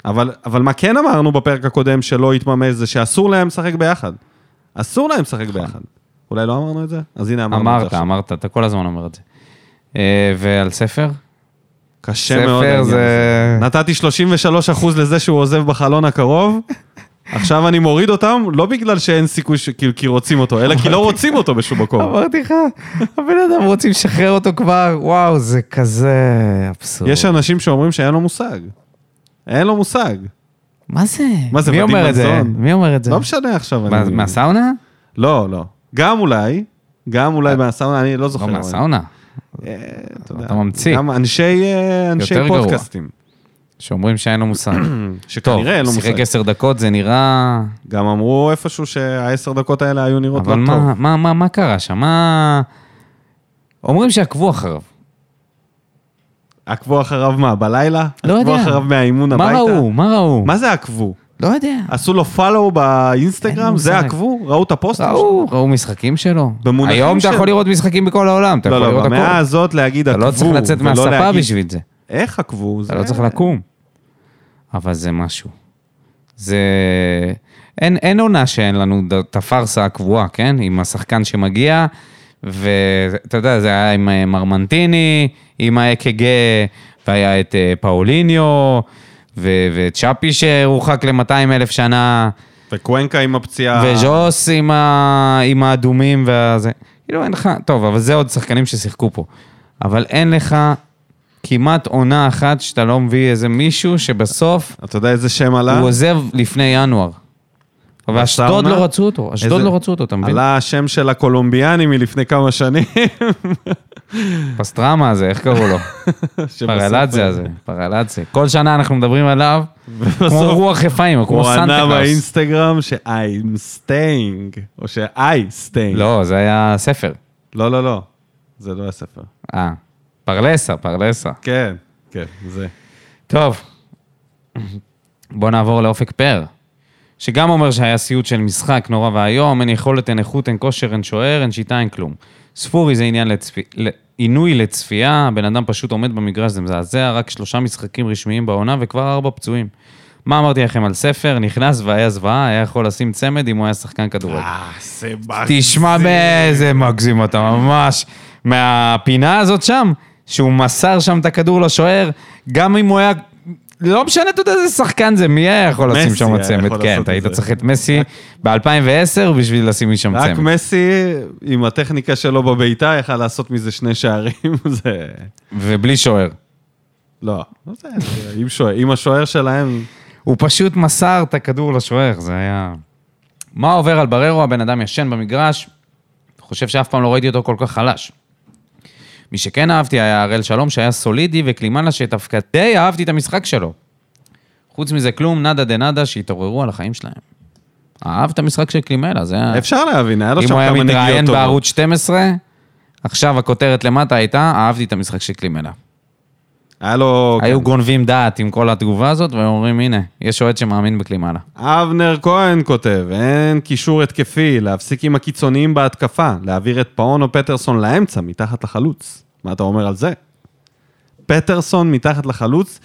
אבל, אבל מה כן אמרנו בפרק הקודם שלא התממש זה שאסור להם לשחק ביחד. אסור להם לשחק ביחד. אולי לא אמרנו את זה? אז הנה אמרנו את זה.
נכון. אמרת,
עכשיו.
אמרת, אתה כל הזמן אומר את זה. אה, ועל ספר?
קשה
ספר
מאוד. העניין
זה-
הזה. נתתי 33 אחוז לזה שהוא עוזב בחלון הקרוב. עכשיו אני מוריד אותם, לא בגלל שאין סיכוי, ש... כאילו, כי רוצים אותו, אלא כי לא רוצים אותו בשום מקום.
אמרתי לך, הבן אדם רוצים לשחרר אותו כבר, וואו, זה כזה אבסורד.
יש אנשים שאומרים שאין לו מושג. אין לו מושג.
מה זה?
מה זה,
מי
ודים
אומר את זה?
מזון?
מי אומר את זה?
לא משנה עכשיו.
מה-
אני-
מהסאונה?
לא, לא. גם אולי, גם אולי מהסאונה, אני לא זוכר.
אה, לא
אבל-
מהסאונה,
אה, יודע.
אתה ממציא.
גם אנשי, אה, אנשי
יותר גרוע.
פודקאסטים,
שאומרים שאין לו מושג. טוב,
שכנראה אין לו
שיחק
מושג.
עשר דקות, זה נראה...
גם אמרו איפשהו שהעשר דקות האלה היו נראות
אבל
לא
מה-
טוב.
מה- מה מה קרה שם? מה... אומרים שעקבו אחריו.
עקבו אחריו מה, בלילה?
לא יודע.
עקבו אחריו מהאימון
מה
הביתה?
ראו? מה ראו?
מה זה עקבו?
לא יודע.
עשו לו פלו
אין
באינסטגרם?
לי
זה
מושג.
עקבו? ראו את הפוסטים? שלו?
ראו, ראו משחקים שלו.
במונחים
היום אתה
של-
יכול לראות משחקים בכל העולם, אתה
לא,
יכול
לא,
לראות
במאה
הכל.
הזאת להגיד
אתה
עקבו.
לא צריך לצאת
ולא
מהשפה
להגיד-
בשביל זה.
איך עקבו?
אתה לא צריך לקום. אבל זה משהו. זה... אין, אין עונה שאין לנו ד- את הפארסה הקבועה, כן? עם השחקן שמגיע, ואתה יודע, זה היה עם אה, מרמנטיני, עם האק"ג, והיה את אה, פאוליניו, ו- וצ'אפי שהורחק ל-200 אלף שנה,
וקוונקה עם הפציעה.
וז'וס עם, ה... עם האדומים והזה. כאילו אין לך, טוב, אבל זה עוד שחקנים ששיחקו פה. אבל אין לך כמעט עונה אחת שאתה לא מביא איזה מישהו שבסוף
אתה יודע איזה שם עלה?
הוא עוזב לפני ינואר. ואשדוד
עונה?
לא רצו אותו, אשדוד
איזה-
לא רצו אותו, אתה מבין?
עלה השם של הקולומביאני מלפני כמה שנים.
פסטרמה הזה, איך קראו לו?
שבסוף-
פרלצה הזה, פרלצה. כל שנה אנחנו מדברים עליו, כמו
בסוף
רוח רפאים, כמו
הוא
סנטה
ענה
קלאוס.
באינסטגרם ש-I'm staying, או ש-I staying.
לא, זה היה ספר.
לא, לא, לא. זה לא הספר.
אה, פרלסה, פרלסה.
כן, כן, זה.
טוב, בוא נעבור לאופק פאר, שגם אומר שהיה סיוט של משחק נורא ואיום, אין יכולת, אין איכות, אין כושר, אין שוער, אין שיטה, אין כלום. ספורי זה עניין לצפי... ל- עינוי לצפייה, הבן אדם פשוט עומד במגרש, זה מזעזע, רק שלושה משחקים רשמיים בעונה וכבר ארבע פצועים. מה אמרתי לכם על ספר? נכנס והיה זוועה, היה יכול לשים צמד אם הוא היה שחקן כדורגל.
אה, זה מגזים.
תשמע באיזה מגזים אתה ממש. מהפינה הזאת שם, שהוא מסר שם את הכדור לשוער, גם אם הוא היה... לא משנה, אתה יודע איזה שחקן זה, מי היה יכול לשים
מסי
שם
היה יכול
צמד? כן,
לעשות
אתה
את
היית
זה.
צריך את מסי ב-2010 בשביל לשים לי שם
רק
צמד.
מסי, עם הטכניקה שלו בביתה, יכל לעשות מזה שני שערים, זה...
ובלי שוער.
לא, לא זה, זה עם שוער- עם השוער שלהם,
הוא פשוט מסר את הכדור לשוער, זה היה... מה עובר על בררו? הבן אדם ישן במגרש, חושב שאף פעם לא ראיתי אותו כל כך חלש. מי שכן אהבתי היה הראל שלום, שהיה סולידי וקלימן לה שדווקא די אהבתי את המשחק שלו. חוץ מזה כלום, נאדה דה נאדה, שהתעוררו על החיים שלהם. אהב את המשחק של קלימלה, זה היה...
אפשר לא להבין, היה לו
אה. אם
שם
הוא
כמה
היה
נגיעות טובות.
מתראיין בערוץ 12, עכשיו הכותרת למטה הייתה, אהבתי את המשחק של קלימלה.
היה לו...
היו גונבים דעת עם כל התגובה הזאת, והם אומרים, הנה, יש אוהד שמאמין בקלימלה.
אבנר כהן כותב, אין קישור התקפי, להפסיק עם הקיצוניים בהתקפה, להעביר את פאון או פטרסון לאמצע, מתחת לחלוץ. מה אתה אומר על זה? פטרסון מתחת לחלוץ?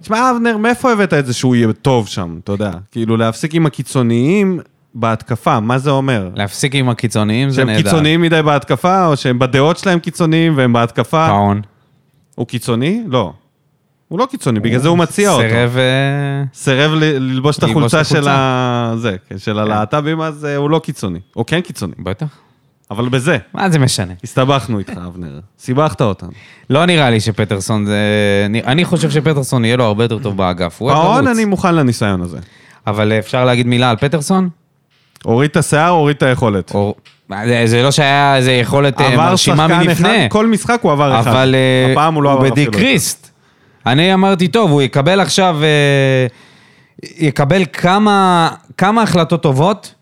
תשמע, אבנר, מאיפה הבאת את זה שהוא יהיה טוב שם, אתה יודע? כאילו, להפסיק עם הקיצוניים בהתקפה, מה זה אומר?
להפסיק עם הקיצוניים זה
שהם
נהדר.
קיצוניים מדי בהתקפה, או שהם בדעות שלהם קיצוניים והם בהתקפה?
פאון.
הוא קיצוני? לא. הוא לא קיצוני, בגלל זה הוא מציע אותו.
סירב... אה,
סירב ל- ללבוש את
ללבוש את
החולצה
החולצה.
של, ה... זה, כן, של הלהט"בים, אז אה, הוא לא קיצוני. הוא כן קיצוני,
בטח.
אבל בזה,
מה זה משנה?
הסתבכנו איתך, אבנר. סיבכת אותנו.
לא נראה לי שפטרסון זה... אני- אני חושב שפטרסון יהיה לו הרבה יותר טוב באגף. הוא
פאון,
החלוץ.
אני מוכן לניסיון הזה.
אבל אפשר להגיד מילה על פטרסון?
הוריד את השיער, הוריד את היכולת.
או... זה- זה לא שהיה איזה יכולת אה, מרשימה
אחד,
מלפני.
כל משחק הוא עבר אחד.
אבל אה,
הפעם הוא לא עבר אפילו. אחד.
בדיקריסט. אני אמרתי, טוב, הוא יקבל עכשיו... אה, יקבל כמה, כמה החלטות טובות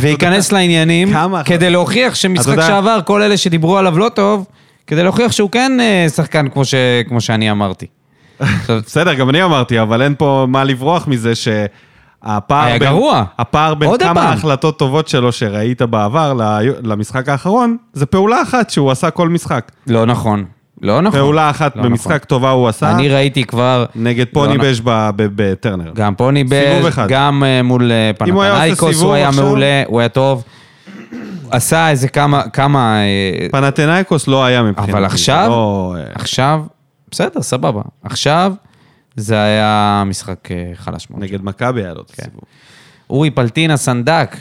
וייכנס לעניינים
כמה החלטות?
כדי להוכיח שמשחק
אתה יודע-
שעבר, כל אלה שדיברו עליו לא טוב, כדי להוכיח שהוא כן אה, שחקן כמו, ש, כמו שאני אמרתי. עכשיו,
בסדר, גם אני אמרתי, אבל אין פה מה לברוח מזה ש... הפער
היה
בין,
גרוע.
הפער בין
עוד
כמה
הפעם.
החלטות טובות שלו שראית בעבר ל- למשחק האחרון, זה פעולה אחת שהוא עשה כל משחק.
לא נכון, לא נכון.
פעולה אחת
לא
במשחק טובה הוא עשה,
נכון. אני ראיתי כבר...
נגד
לא,
פוניבז' ב- ב- בטרנר.
גם פוני
סיבוב
בז,
אחד.
גם אה, מול אה,
אם הוא היה עושה
פנתנייקוס,
סיבוב
הוא היה
עכשיו-
מעולה, הוא היה טוב. עשה איזה כמה, כמה... אה,
פנתנאיקוס לא היה מבחינתי.
אבל עכשיו,
לא, אה,
עכשיו, בסדר, סבבה. עכשיו, זה היה משחק אה, חלש מאוד.
נגד מכבי היה לו
כן.
את הסיבוב.
אורי פלטינה סנדק.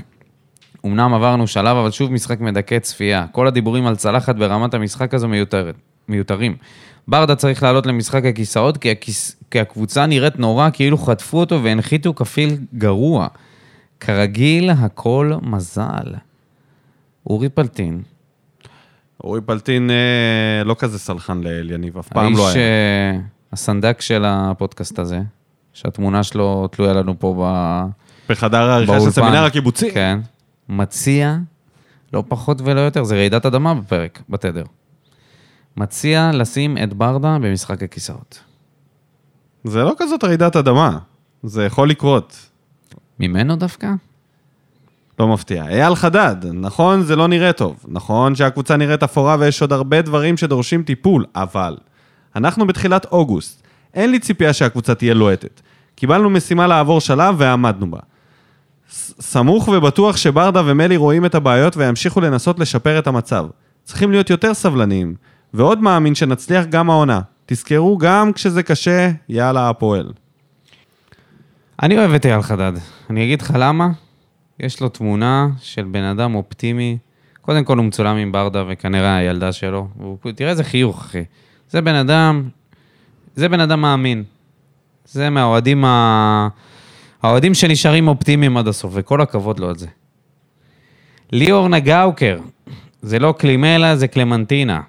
אמנם עברנו שלב, אבל שוב משחק מדכא צפייה. כל הדיבורים על צלחת ברמת המשחק הזו מיותרת, מיותרים. ברדה צריך לעלות למשחק הכיסאות, כי, הכיס, כי הקבוצה נראית נורא, כאילו חטפו אותו והנחיתו כפיל גרוע. כרגיל, הכל מזל. אורי פלטין
אורי פלטין אה, לא כזה סלחן לאל יניב, אף פעם לא
האיש,
היה.
אה, הסנדק של הפודקאסט הזה, שהתמונה שלו תלויה לנו פה ב...
בחדר העריכה של
באולפן.
סמינר הקיבוצי.
כן. מציע, לא פחות ולא יותר, זה רעידת אדמה בפרק, בתדר. מציע לשים את ברדה במשחק הכיסאות.
זה לא כזאת רעידת אדמה, זה יכול לקרות.
ממנו דווקא?
לא מפתיע. אייל חדד, נכון, זה לא נראה טוב. נכון שהקבוצה נראית אפורה ויש עוד הרבה דברים שדורשים טיפול, אבל אנחנו בתחילת אוגוסט. אין לי ציפייה שהקבוצה תהיה לוהטת. קיבלנו משימה לעבור שלב ועמדנו בה. ס- סמוך ובטוח שברדה ומלי רואים את הבעיות וימשיכו לנסות לשפר את המצב. צריכים להיות יותר סבלניים, ועוד מאמין שנצליח גם העונה. תזכרו גם כשזה קשה, יאללה הפועל.
אני אוהב את אייל חדד. אני אגיד לך למה. יש לו תמונה של בן אדם אופטימי. קודם כל הוא מצולם עם ברדה וכנראה הילדה שלו. הוא, תראה איזה חיוך, אחי. זה בן אדם, זה בן אדם מאמין. זה מהאוהדים ה... האוהדים שנשארים אופטימיים עד הסוף, וכל הכבוד לו על זה. ליאור נגאוקר, זה לא קלימלה, זה קלמנטינה.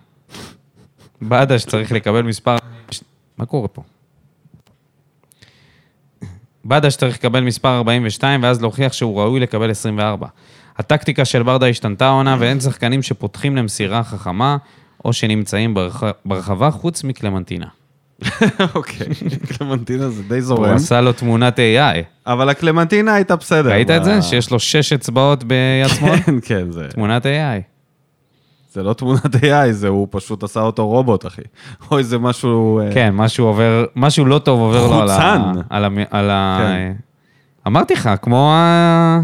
בדש צריך לקבל מספר... ש- מה קורה פה? ברדה שצריך לקבל מספר 42 ואז להוכיח שהוא ראוי לקבל 24. הטקטיקה של ברדה השתנתה העונה ואין שחקנים שפותחים למסירה חכמה או שנמצאים ברח... ברחבה חוץ מקלמנטינה.
אוקיי, קלמנטינה זה די
הוא
זורם.
עשה לו תמונת AI.
אבל הקלמנטינה הייתה בסדר.
ראית את זה?
ב-
שיש לו שש אצבעות ביד שמאל?
כן, כן, זה,
תמונת AI.
כן. זה לא תמונת AI, זה הוא פשוט עשה אותו רובוט, אחי. או איזה משהו... אה,
כן, משהו עובר, משהו לא טוב עובר לו על ה...
חוצן.
על ה... על ה...
כן.
אמרתי לך, כמו ה...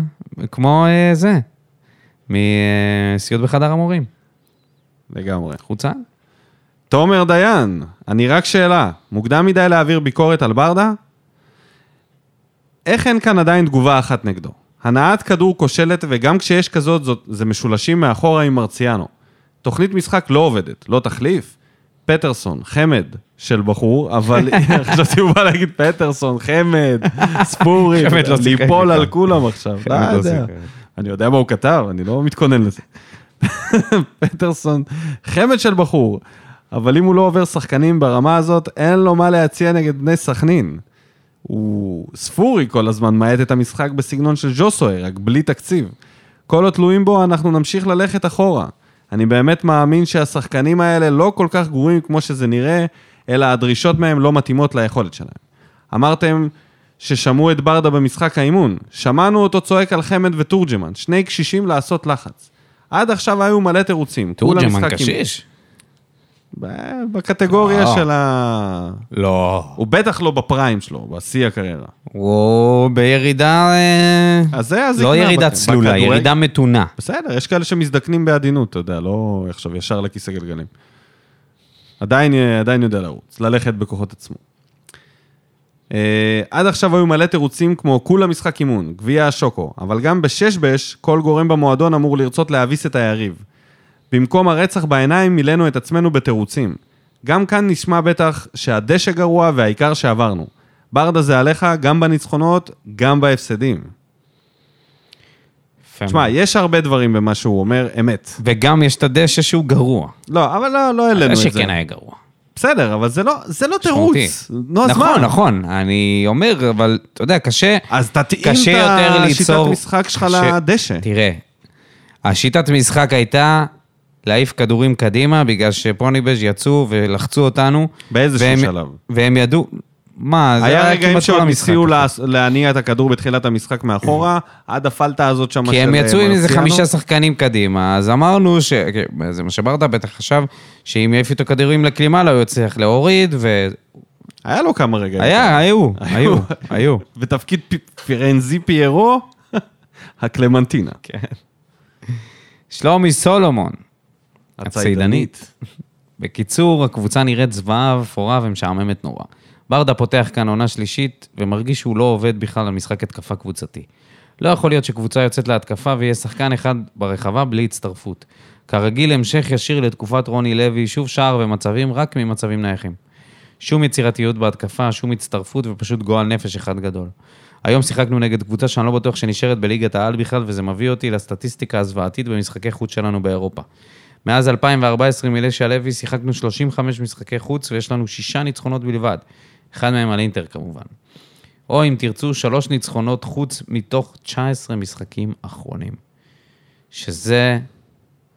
כמו אה, זה, מסיוט בחדר המורים.
לגמרי.
חוצן?
תומר דיין, אני רק שאלה, מוקדם מדי להעביר ביקורת על ברדה? איך אין כאן עדיין תגובה אחת נגדו? הנעת כדור כושלת, וגם כשיש כזאת, זאת, זה משולשים מאחורה עם מרציאנו. תוכנית משחק לא עובדת, לא תחליף. פטרסון, חמד של בחור, אבל חשבתי הוא בא להגיד פטרסון, חמד, ספורי,
חמד לא שיחק
ליפול על
איתם.
כולם עכשיו, לא
חמד לא
יודע.
שיחק.
אני יודע מה הוא כתב, אני לא מתכונן לזה. פטרסון, חמד של בחור, אבל אם הוא לא עובר שחקנים ברמה הזאת, אין לו מה להציע נגד בני סכנין. הוא ספורי כל הזמן, מאט את המשחק בסגנון של ז'וסוי, רק בלי תקציב. כל התלויים בו, אנחנו נמשיך ללכת אחורה. אני באמת מאמין שהשחקנים האלה לא כל כך גרועים כמו שזה נראה, אלא הדרישות מהם לא מתאימות ליכולת שלהם. אמרתם ששמעו את ברדה במשחק האימון. שמענו אותו צועק על חמד ותורג'מן, שני קשישים לעשות לחץ. עד עכשיו היו מלא תירוצים. כולה
תורג'מן
משחק עם-
קשיש?
ב- בקטגוריה
אה.
של ה...
לא.
הוא בטח לא בפריים שלו, בשיא הקריירה.
הוא בירידה... אה,
אז זה הזקנה.
לא ירידה
בכ-
צלולה,
בכדורגל.
ירידה מתונה.
בסדר, יש כאלה שמזדקנים בעדינות, אתה יודע, לא עכשיו ישר לכיסא גלגלים. עדיין, עדיין יודע לרוץ, ללכת בכוחות עצמו. אה, עד עכשיו היו מלא תירוצים כמו כולה משחק אימון, גביע השוקו, אבל גם בשש בש, כל גורם במועדון אמור לרצות להביס את היריב. במקום הרצח בעיניים מילאנו את עצמנו בתירוצים. גם כאן נשמע בטח שהדשא גרוע והעיקר שעברנו. ברדה זה עליך גם בניצחונות, גם בהפסדים.
יפה
תשמע,
מאוד.
יש הרבה דברים במה שהוא אומר, אמת.
וגם יש את הדשא שהוא גרוע.
לא, אבל לא, לא העלינו את זה.
הדשא כן היה גרוע.
בסדר, אבל זה לא, זה לא
משמעותי.
תירוץ. נו, אז מה?
נכון, נכון, אני אומר, אבל אתה יודע, קשה...
אז תתאים
קשה יותר
את השיטת
ליצור...
משחק שלך
קשה-
לדשא.
תראה, השיטת משחק הייתה להעיף כדורים קדימה, בגלל שפוניבז' יצאו ולחצו אותנו.
באיזשהו
והם-
שלב.
והם ידעו... מה, זה
היה
היה
רגעים
כמעט כל
שהם
המשחק.
הציעו להניע את הכדור בתחילת המשחק מאחורה, עד הפלטה הזאת שם
כן. כי הם
של, אה,
יצאו עם איזה
מרציאנו.
חמישה שחקנים קדימה, אז אמרנו ש... כן, זה מה שברדה בטח חשב, שאם יעיף איתו כדורים לקלימה, לא הוא יצליח להוריד, ו...
היה לו כמה רגעים.
היה, היו, היו, היו.
בתפקיד פ- פירנזי פיירו, הקלמנטינה.
כן, שלומי סולומון. בקיצור, הקבוצה נראית זוועה ואפורה ומשעממת נורא. ברדה פותח כאן עונה שלישית ומרגיש שהוא לא עובד בכלל על משחק התקפה קבוצתי. לא יכול להיות שקבוצה יוצאת להתקפה ויהיה שחקן אחד ברחבה בלי הצטרפות. כרגיל, המשך ישיר לתקופת רוני לוי, שוב שער ומצבים רק ממצבים נייחים. שום יצירתיות בהתקפה, שום הצטרפות ופשוט גועל נפש אחד גדול. היום שיחקנו נגד קבוצה שאני לא בטוח שנשארת בליגת העל בכלל, וזה מביא אותי לסטטיסטיקה הזוועתית במשחקי חוץ שלנו באירופה. מאז 2014 עם אלישע לוי שיחקנו 35 משחקי חוץ ויש לנו שישה ניצחונות בלבד. אחד מהם על אינטר כמובן. או אם תרצו, שלוש ניצחונות חוץ מתוך 19 משחקים אחרונים. שזה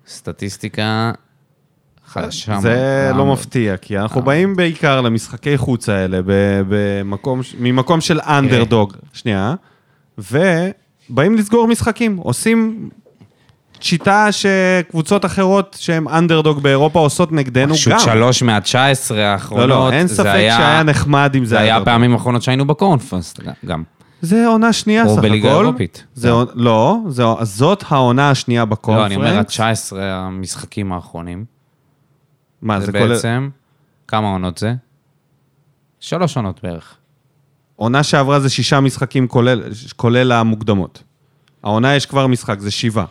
סטטיסטיקה חדשה.
זה
מאוד.
לא מפתיע, כי אנחנו
אה.
באים בעיקר למשחקי חוץ האלה, ב- במקום, ש- ממקום של
כן.
אנדרדוג, שנייה, ובאים לסגור משחקים, עושים שיטה שקבוצות אחרות שהן אנדרדוג באירופה עושות נגדנו
פשוט
גם.
שלוש מה-19
לא,
האחרונות.
לא, אין
זה
ספק
היה-
שהיה נחמד אם זה
זה
היה...
היה
אנדרדוג.
הפעמים האחרונות שהיינו בקורנפרנס גם.
זה עונה שנייה
או
סך
בליגה
הכל.
האירופית.
זה עונ- לא, זה- זאת העונה השנייה בקונפרנס.
לא, אני אומר, ה-19 המשחקים האחרונים.
מה,
זה
זה כולל...
בעצם, כמה עונות זה? שלוש עונות בערך.
עונה שעברה זה שישה משחקים כולל, כולל המוקדמות. העונה יש כבר משחק, זה שבעה.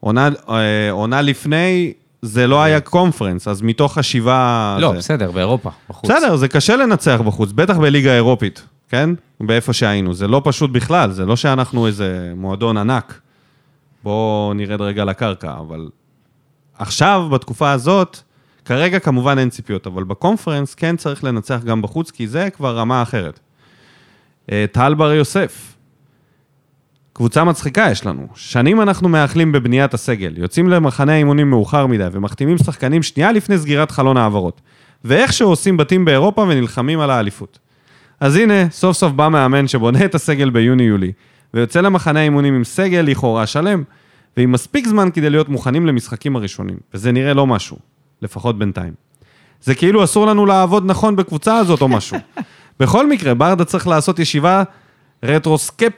עונה, אה, עונה לפני, זה לא היה קונפרנס, אז מתוך השבעה...
לא,
זה...
בסדר, באירופה, בחוץ.
בסדר, זה קשה לנצח בחוץ, בטח בליגה האירופית, כן? באיפה שהיינו. זה לא פשוט בכלל, זה לא שאנחנו איזה מועדון ענק. בואו נרד רגע לקרקע, אבל עכשיו, בתקופה הזאת, כרגע כמובן אין ציפיות, אבל בקונפרנס כן צריך לנצח גם בחוץ, כי זה כבר רמה אחרת. אה, טל בר יוסף, קבוצה מצחיקה יש לנו. שנים אנחנו מאחלים בבניית הסגל, יוצאים למחנה אימונים מאוחר מדי ומחתימים שחקנים שנייה לפני סגירת חלון העברות. ואיכשהו עושים בתים באירופה ונלחמים על האליפות. אז הנה, סוף סוף בא מאמן שבונה את הסגל ביוני-יולי, ויוצא למחנה אימונים עם סגל לכאורה שלם, ועם מספיק זמן כדי להיות מוכנים למשחקים הראשונים, וזה נראה לא משהו, לפחות בינתיים. זה כאילו אסור לנו לעבוד נכון בקבוצה הזאת או משהו. בכל מקרה, ברדה צריך לעשות ישיבה רטרוסקפ...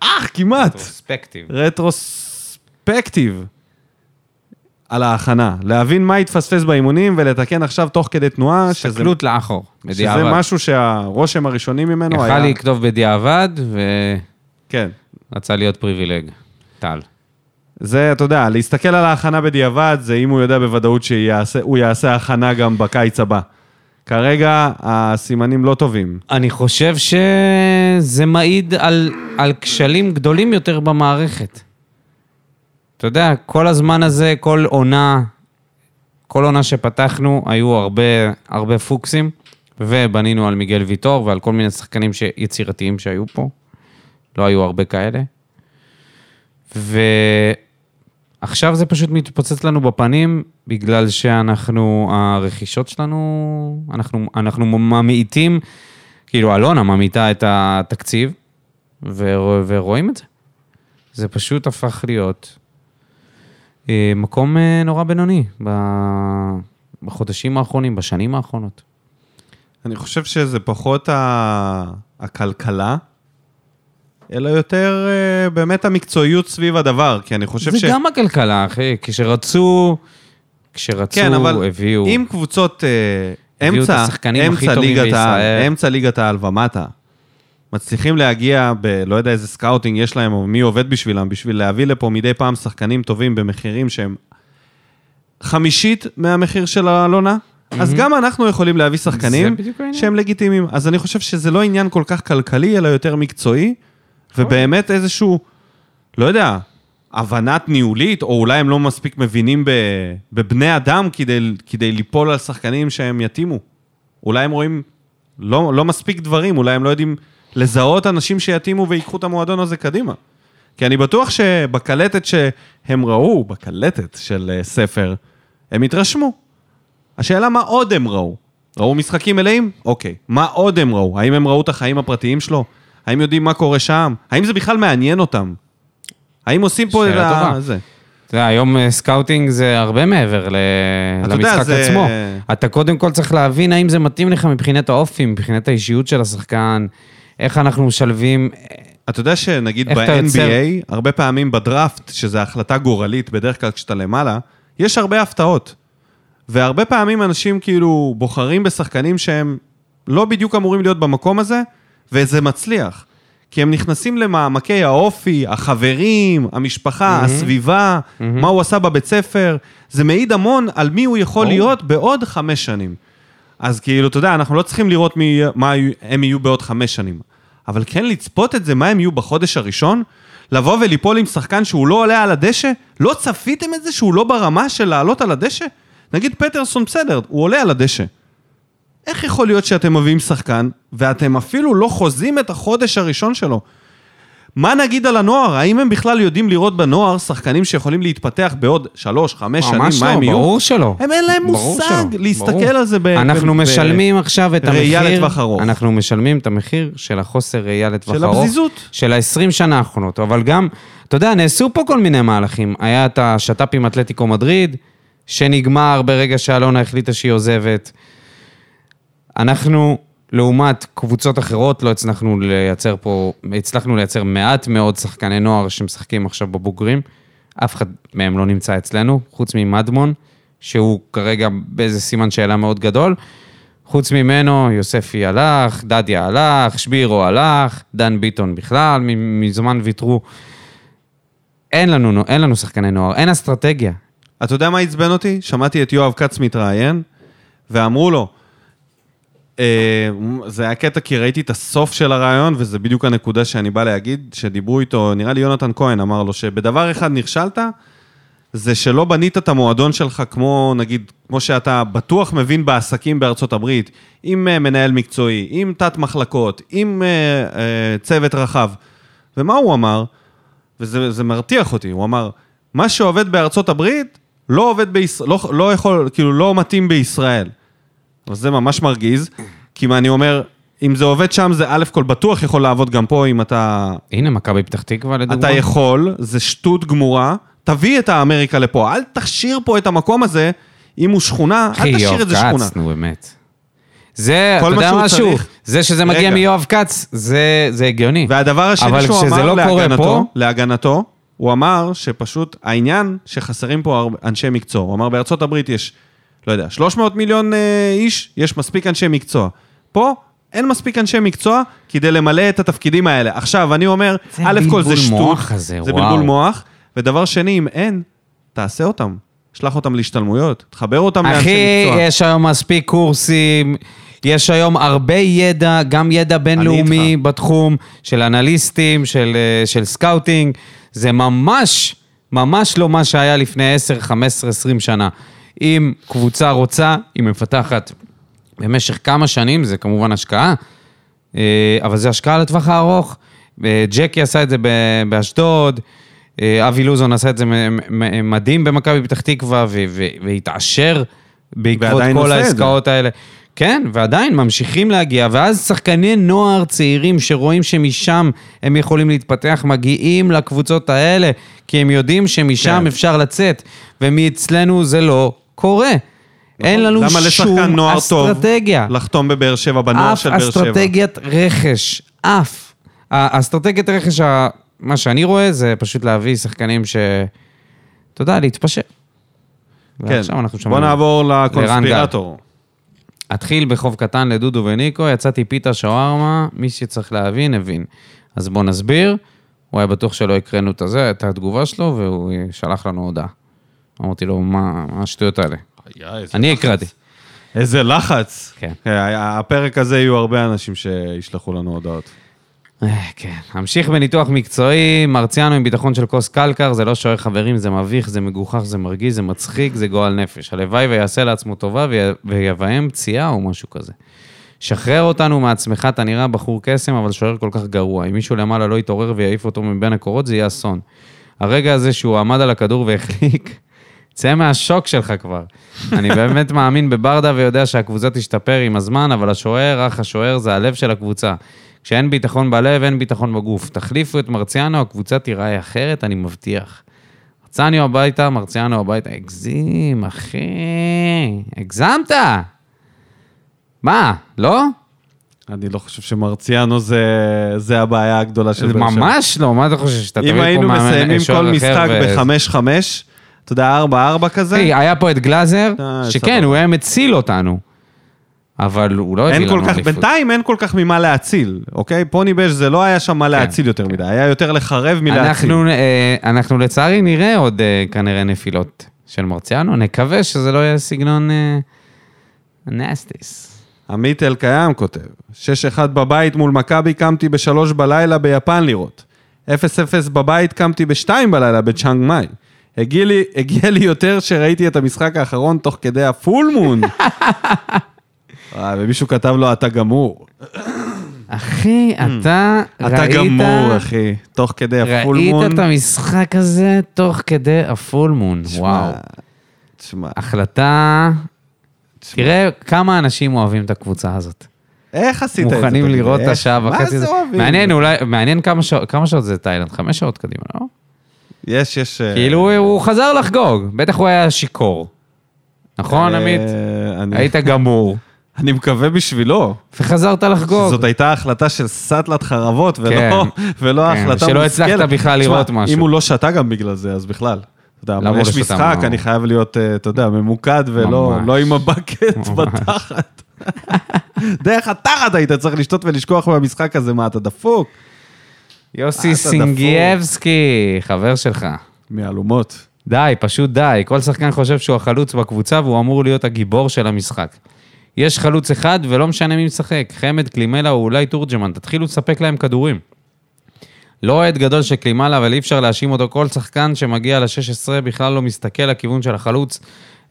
אך, כמעט.
רטרוספקטיב.
רטרוספקטיב על ההכנה. להבין מה התפספס באימונים ולתקן עכשיו תוך כדי תנועה, שזה,
הסתכלות לאחור, בדיעבד.
שזה משהו שהרושם הראשוני ממנו היה...
יכל לכתוב בדיעבד, ורצה
כן.
להיות פריבילג. טל.
זה, אתה יודע, להסתכל על ההכנה בדיעבד, זה אם הוא יודע בוודאות שהוא יעשה הכנה גם בקיץ הבא. כרגע הסימנים לא טובים.
אני חושב שזה מעיד על, על כשלים גדולים יותר במערכת. אתה יודע, כל הזמן הזה, כל עונה, כל עונה שפתחנו, היו הרבה, הרבה פוקסים, ובנינו על מיגל ויטור ועל כל מיני שחקנים ש... יצירתיים שהיו פה. לא היו הרבה כאלה. ועכשיו זה פשוט מתפוצץ לנו בפנים, בגלל שאנחנו, הרכישות שלנו, אנחנו, אנחנו ממעיטים, כאילו אלונה ממעיטה את התקציב, ו- ורואים את זה. זה פשוט הפך להיות אה, מקום אה, נורא בינוני ב- בחודשים האחרונים, בשנים האחרונות.
אני חושב שזה פחות ה... הכלכלה, אלא יותר אה, באמת המקצועיות סביב הדבר, כי אני חושב
זה
ש...
גם הכלכלה, אחי, כשרצו, כשרצו,
כן, אבל
הביאו...
אם קבוצות אה,
הביאו את
אמצע,
השחקנים הכי
אמצע
טובים
ליגת העל,
בישראל.
אמצע ליגת העל ומטה, מצליחים להגיע ב... לא יודע איזה סקאוטינג יש להם, או מי עובד בשבילם, בשביל להביא לפה מדי פעם שחקנים טובים במחירים שהם חמישית מהמחיר של אלונה, אז גם אנחנו יכולים להביא שחקנים
בדיוק העניין.
שהם לגיטימיים. אז אני חושב שזה לא עניין כל כך כלכלי, אלא יותר מקצועי, ובאמת איזשהו, לא יודע, הבנת ניהולית, או אולי הם לא מספיק מבינים ב, בבני אדם כדי, כדי ליפול על שחקנים שהם יתאימו. אולי הם רואים לא, לא מספיק דברים, אולי הם לא יודעים לזהות אנשים שיתאימו ויקחו את המועדון הזה קדימה. כי אני בטוח שבקלטת שהם ראו, בקלטת של אה, ספר, הם התרשמו. השאלה מה עוד הם ראו? ראו משחקים מלאים? אוקיי. מה עוד הם ראו? האם הם ראו את החיים הפרטיים שלו? האם יודעים מה קורה שם? האם זה בכלל מעניין אותם? האם עושים פה את
שאלה
ה...
טובה.
זה?
אתה יודע, היום אה, סקאוטינג זה הרבה מעבר ל...
אתה יודע,
למשחק
זה-
עצמו. אתה קודם כל צריך להבין האם זה מתאים לך מבחינת האופי, מבחינת האישיות של השחקן, איך אנחנו משלבים...
אתה יודע שנגיד
איך אתה יוצר-
ב-NBA, הרבה פעמים בדראפט, שזו החלטה גורלית, בדרך כלל כשאתה למעלה, יש הרבה הפתעות. והרבה פעמים אנשים כאילו בוחרים בשחקנים שהם לא בדיוק אמורים להיות במקום הזה, וזה מצליח. כי הם נכנסים למעמקי האופי, החברים, המשפחה, mm-hmm. הסביבה, mm-hmm. מה הוא עשה בבית ספר. זה מעיד המון על מי הוא יכול
ברור.
להיות בעוד חמש שנים. אז כאילו, אתה יודע, אנחנו לא צריכים לראות מי, מה יהיו- הם יהיו בעוד חמש שנים, אבל כן לצפות את זה, מה הם יהיו בחודש הראשון, לבוא וליפול עם שחקן שהוא לא עולה על הדשא? לא צפיתם את זה שהוא לא ברמה של לעלות על הדשא? נגיד פטרסון בסדר, הוא עולה על הדשא. איך יכול להיות שאתם מביאים שחקן, ואתם אפילו לא חוזים את החודש הראשון שלו? מה נגיד על הנוער? האם הם בכלל יודעים לראות בנוער שחקנים שיכולים להתפתח בעוד שלוש, חמש שנים,
ממש
מה
לא,
הם יהיו?
ברור שלא.
הם אין להם
ברור
מושג
שלא,
להסתכל
ברור.
על זה ב...
אנחנו
ב- ב-
משלמים עכשיו את המחיר.
ראייה לטווח ארוך.
אנחנו משלמים את המחיר של החוסר ראייה לטווח
של
ארוך.
הפזיזות.
של ה-20 שנה האחרונות. אבל גם, אתה יודע, נעשו פה כל מיני מהלכים. היה את השת"פ עם אתלטיקו מדריד, שנגמר ברגע שאלונה החליטה שהיא עוזבת. אנחנו, לעומת קבוצות אחרות, לא הצלחנו לייצר פה, הצלחנו לייצר מעט מאוד שחקני נוער שמשחקים עכשיו בבוגרים. אף אחד מהם לא נמצא אצלנו, חוץ ממדמון, שהוא כרגע באיזה סימן שאלה מאוד גדול. חוץ ממנו, יוספי הלך, דדיה הלך, שבירו הלך, דן ביטון בכלל, מ- מזמן ויתרו. אין לנו, נו- אין לנו שחקני נוער, אין אסטרטגיה.
אתה יודע מה עצבן אותי? שמעתי את יואב כץ מתראיין, ואמרו לו, אה, זה היה קטע כי ראיתי את הסוף של הרעיון, וזה בדיוק הנקודה שאני בא להגיד, שדיברו איתו, נראה לי יונתן כהן אמר לו, שבדבר אחד נכשלת, זה שלא בנית את המועדון שלך כמו, נגיד, כמו שאתה בטוח מבין בעסקים בארצות הברית, עם אה, מנהל מקצועי, עם תת-מחלקות, עם אה, אה, צוות רחב. ומה הוא אמר? וזה זה מרתיח אותי, הוא אמר, מה שעובד בארצות הברית, לא עובד בישראל, לא, לא יכול, כאילו, לא מתאים בישראל. אבל זה ממש מרגיז, כי מה אני אומר, אם זה עובד שם, זה א' כל בטוח יכול לעבוד גם פה, אם אתה
הנה, מכבי פתח תקווה לדוגמה.
אתה יכול, זה שטות גמורה, תביא את האמריקה לפה, אל תשאיר פה את המקום הזה, אם הוא שכונה, אל תשאיר את זה
אחי,
שכונה.
יואב כץ, נו באמת. זה, אתה
כל מה
יודע
שהוא
משהו?
צריך.
זה שזה מגיע
רגע.
מיואב כץ, זה זה הגיוני.
והדבר השני
אבל
שהוא
כשזה
אמר
לא קורה
להגנתו,
פה-
להגנתו, הוא אמר שפשוט העניין שחסרים פה הרבה- אנשי מקצוע. הוא אמר בארצות הברית יש, לא יודע, 300 מיליון אה, איש, יש מספיק אנשי מקצוע. פה אין מספיק אנשי מקצוע כדי למלא את התפקידים האלה. עכשיו, אני אומר,
זה
א' כל
בלבול
זה שטות,
מוח הזה,
זה
וואו.
בלבול מוח, ודבר שני, אם אין, תעשה אותם. שלח אותם להשתלמויות, תחבר אותם לאנשי
אחי,
מקצוע.
יש היום מספיק קורסים, יש היום הרבה ידע, גם ידע בינלאומי
איתך.
בתחום של אנליסטים, של, אה, של סקאוטינג. זה ממש, ממש לא מה שהיה לפני 10, 15, 20 שנה. אם קבוצה רוצה, היא מפתחת במשך כמה שנים, זה כמובן השקעה, אה, אבל זה השקעה לטווח הארוך. אה, ג'קי עשה את זה ב- באשדוד, אה, אבי לוזון עשה את זה מ- מ- מדהים במכבי פתח תקווה, ו- ו- והתעשר בעקבות
ועדיין
כל
עושה את זה.
העסקאות האלה. כן, ועדיין ממשיכים להגיע, ואז שחקני נוער צעירים שרואים שמשם הם יכולים להתפתח, מגיעים לקבוצות האלה, כי הם יודעים שמשם
כן.
אפשר לצאת, ומאצלנו זה לא קורה. אין לנו
נכון. למה לשחקן
שום
נוער טוב
אסטרטגיה.
לחתום בבאר שבע, בנוער
אף
של באר שבע?
אסטרטגיית רכש, אף. האסטרטגיית רכש, ה- מה שאני רואה זה פשוט להביא שחקנים ש... אתה יודע, להתפשר.
כן,
ועכשיו אנחנו
בוא
שומעים.
נעבור לקונספירטור.
אתחיל בחוב קטן לדודו וניקו, יצאתי פיתה שווארמה, מי שצריך להבין, הבין. אז בואו נסביר. הוא היה בטוח שלא הקראנו את הזה, את התגובה שלו, והוא שלח לנו הודעה. אמרתי לו, מה מה השטויות האלה? אני הקראתי.
איזה לחץ.
כן.
אה, הפרק הזה יהיו הרבה אנשים שישלחו לנו הודעות.
אה, כן. אמשיך בניתוח מקצועי, מרציאנו עם ביטחון של כוס קלקר, זה לא שוער חברים, זה מביך, זה מגוחך, זה מרגיז, זה מצחיק, זה גועל נפש. הלוואי ויעשה לעצמו טובה ויה- ויבהם פציעה או משהו כזה. שחרר אותנו מעצמך, אתה נראה בחור קסם, אבל שוער כל כך גרוע. אם מישהו למעלה לא יתעורר ויעיף אותו מבין הקורות, זה יהיה אסון. הרגע הזה שהוא עמד על הכדור והחליק, צא מהשוק שלך כבר. אני באמת מאמין בברדה ויודע שהקבוצה תשתפר עם הזמן, אבל השוער, אח השוער, זה הלב של הקבוצה. כשאין ביטחון בלב, אין ביטחון בגוף. תחליפו את מרציאנו, הקבוצה תיראה אחרת, אני מבטיח. מרציאנו הביתה, מרציאנו הביתה. הגזים, אחי. הגזמת! מה, לא?
אני לא חושב שמרציאנו זה, זה הבעיה הגדולה של
זה
באר שבע.
ממש לא, מה אתה חושב, שאתה תביא
אם
פה מאמן אה,
היינו מסיימים
שוער
כל
אחר
משחק
ו-
ב-5-5, אתה יודע, 4-4 כזה,
היי, היה פה את גלאזר,
אה,
שכן,
סבבה.
הוא היה מציל אותנו, אבל הוא לא הביא
אין
לנו
כל כך,
אליפות.
בינתיים אין כל כך ממה להציל, אוקיי? פוני בש זה לא היה שם מה להציל יותר מדי, היה יותר לחרב מלהציל.
כן, אנחנו, אה, אנחנו לצערי נראה עוד אה, כנראה נפילות של מרציאנו, נקווה שזה לא יהיה סגנון אה, נסטיס.
עמית אלקיים כותב, 6-1 בבית מול מכבי, קמתי בשלוש בלילה ביפן לראות. 0-0 בבית, קמתי בשתיים בלילה בצ'אנג מאי. הגיע לי, הגיע לי יותר שראיתי את המשחק האחרון תוך כדי הפול מון. אה, ומישהו כתב לו, אתה גמור.
אחי, אתה ראית...
Mm. אתה גמור, אחי. תוך כדי הפול
ראית
מון.
את המשחק הזה תוך כדי הפול מון,
תשמע,
וואו.
תשמע,
החלטה...
תשמע.
תראה כמה אנשים אוהבים את הקבוצה הזאת.
איך עשית את זה?
מוכנים
תגיד?
לראות את
איך?
השעה וחצי.
מה זה אוהבים?
מעניין, אולי, מעניין כמה שעות- כמה שעות זה תאילנד, חמש שעות קדימה, לא?
כן. יש, יש... אה,
כאילו, הוא- הוא חזר לחגוג, בטח הוא היה שיכור. נכון,
אה,
עמית?
אני-
היית גמור,
אני מקווה בשבילו.
וחזרת לחגוג.
זאת הייתה החלטה של סאטלת חרבות, ולא
כן.
ולא
כן,
החלטה
שלא הצלחת בכלל
תשמע,
לראות משהו.
אם הוא לא שתה גם בגלל זה, אז בכלל. אתה יודע,
למה הוא
יש
לא שתה?
משחק,
מה?
אני חייב להיות, אה, אתה יודע, ממוקד ולא
ממש.
לא עם הבקט
ממש.
בתחת. דרך התחת היית צריך לשתות ולשכוח מהמשחק הזה, מה, אתה דפוק?
יוסי
אתה דפוק.
סינגייבסקי, חבר שלך.
מהלומות.
די, פשוט די. כל שחקן חושב שהוא החלוץ בקבוצה והוא אמור להיות הגיבור של המשחק. יש חלוץ אחד ולא משנה מי משחק. חמד, קלימלה או אולי תורג'מן, תתחילו לספק להם כדורים. לא אוהד גדול של קלימלה, אבל אי אפשר להאשים אותו. כל שחקן שמגיע ל-16 בכלל לא מסתכל לכיוון של החלוץ,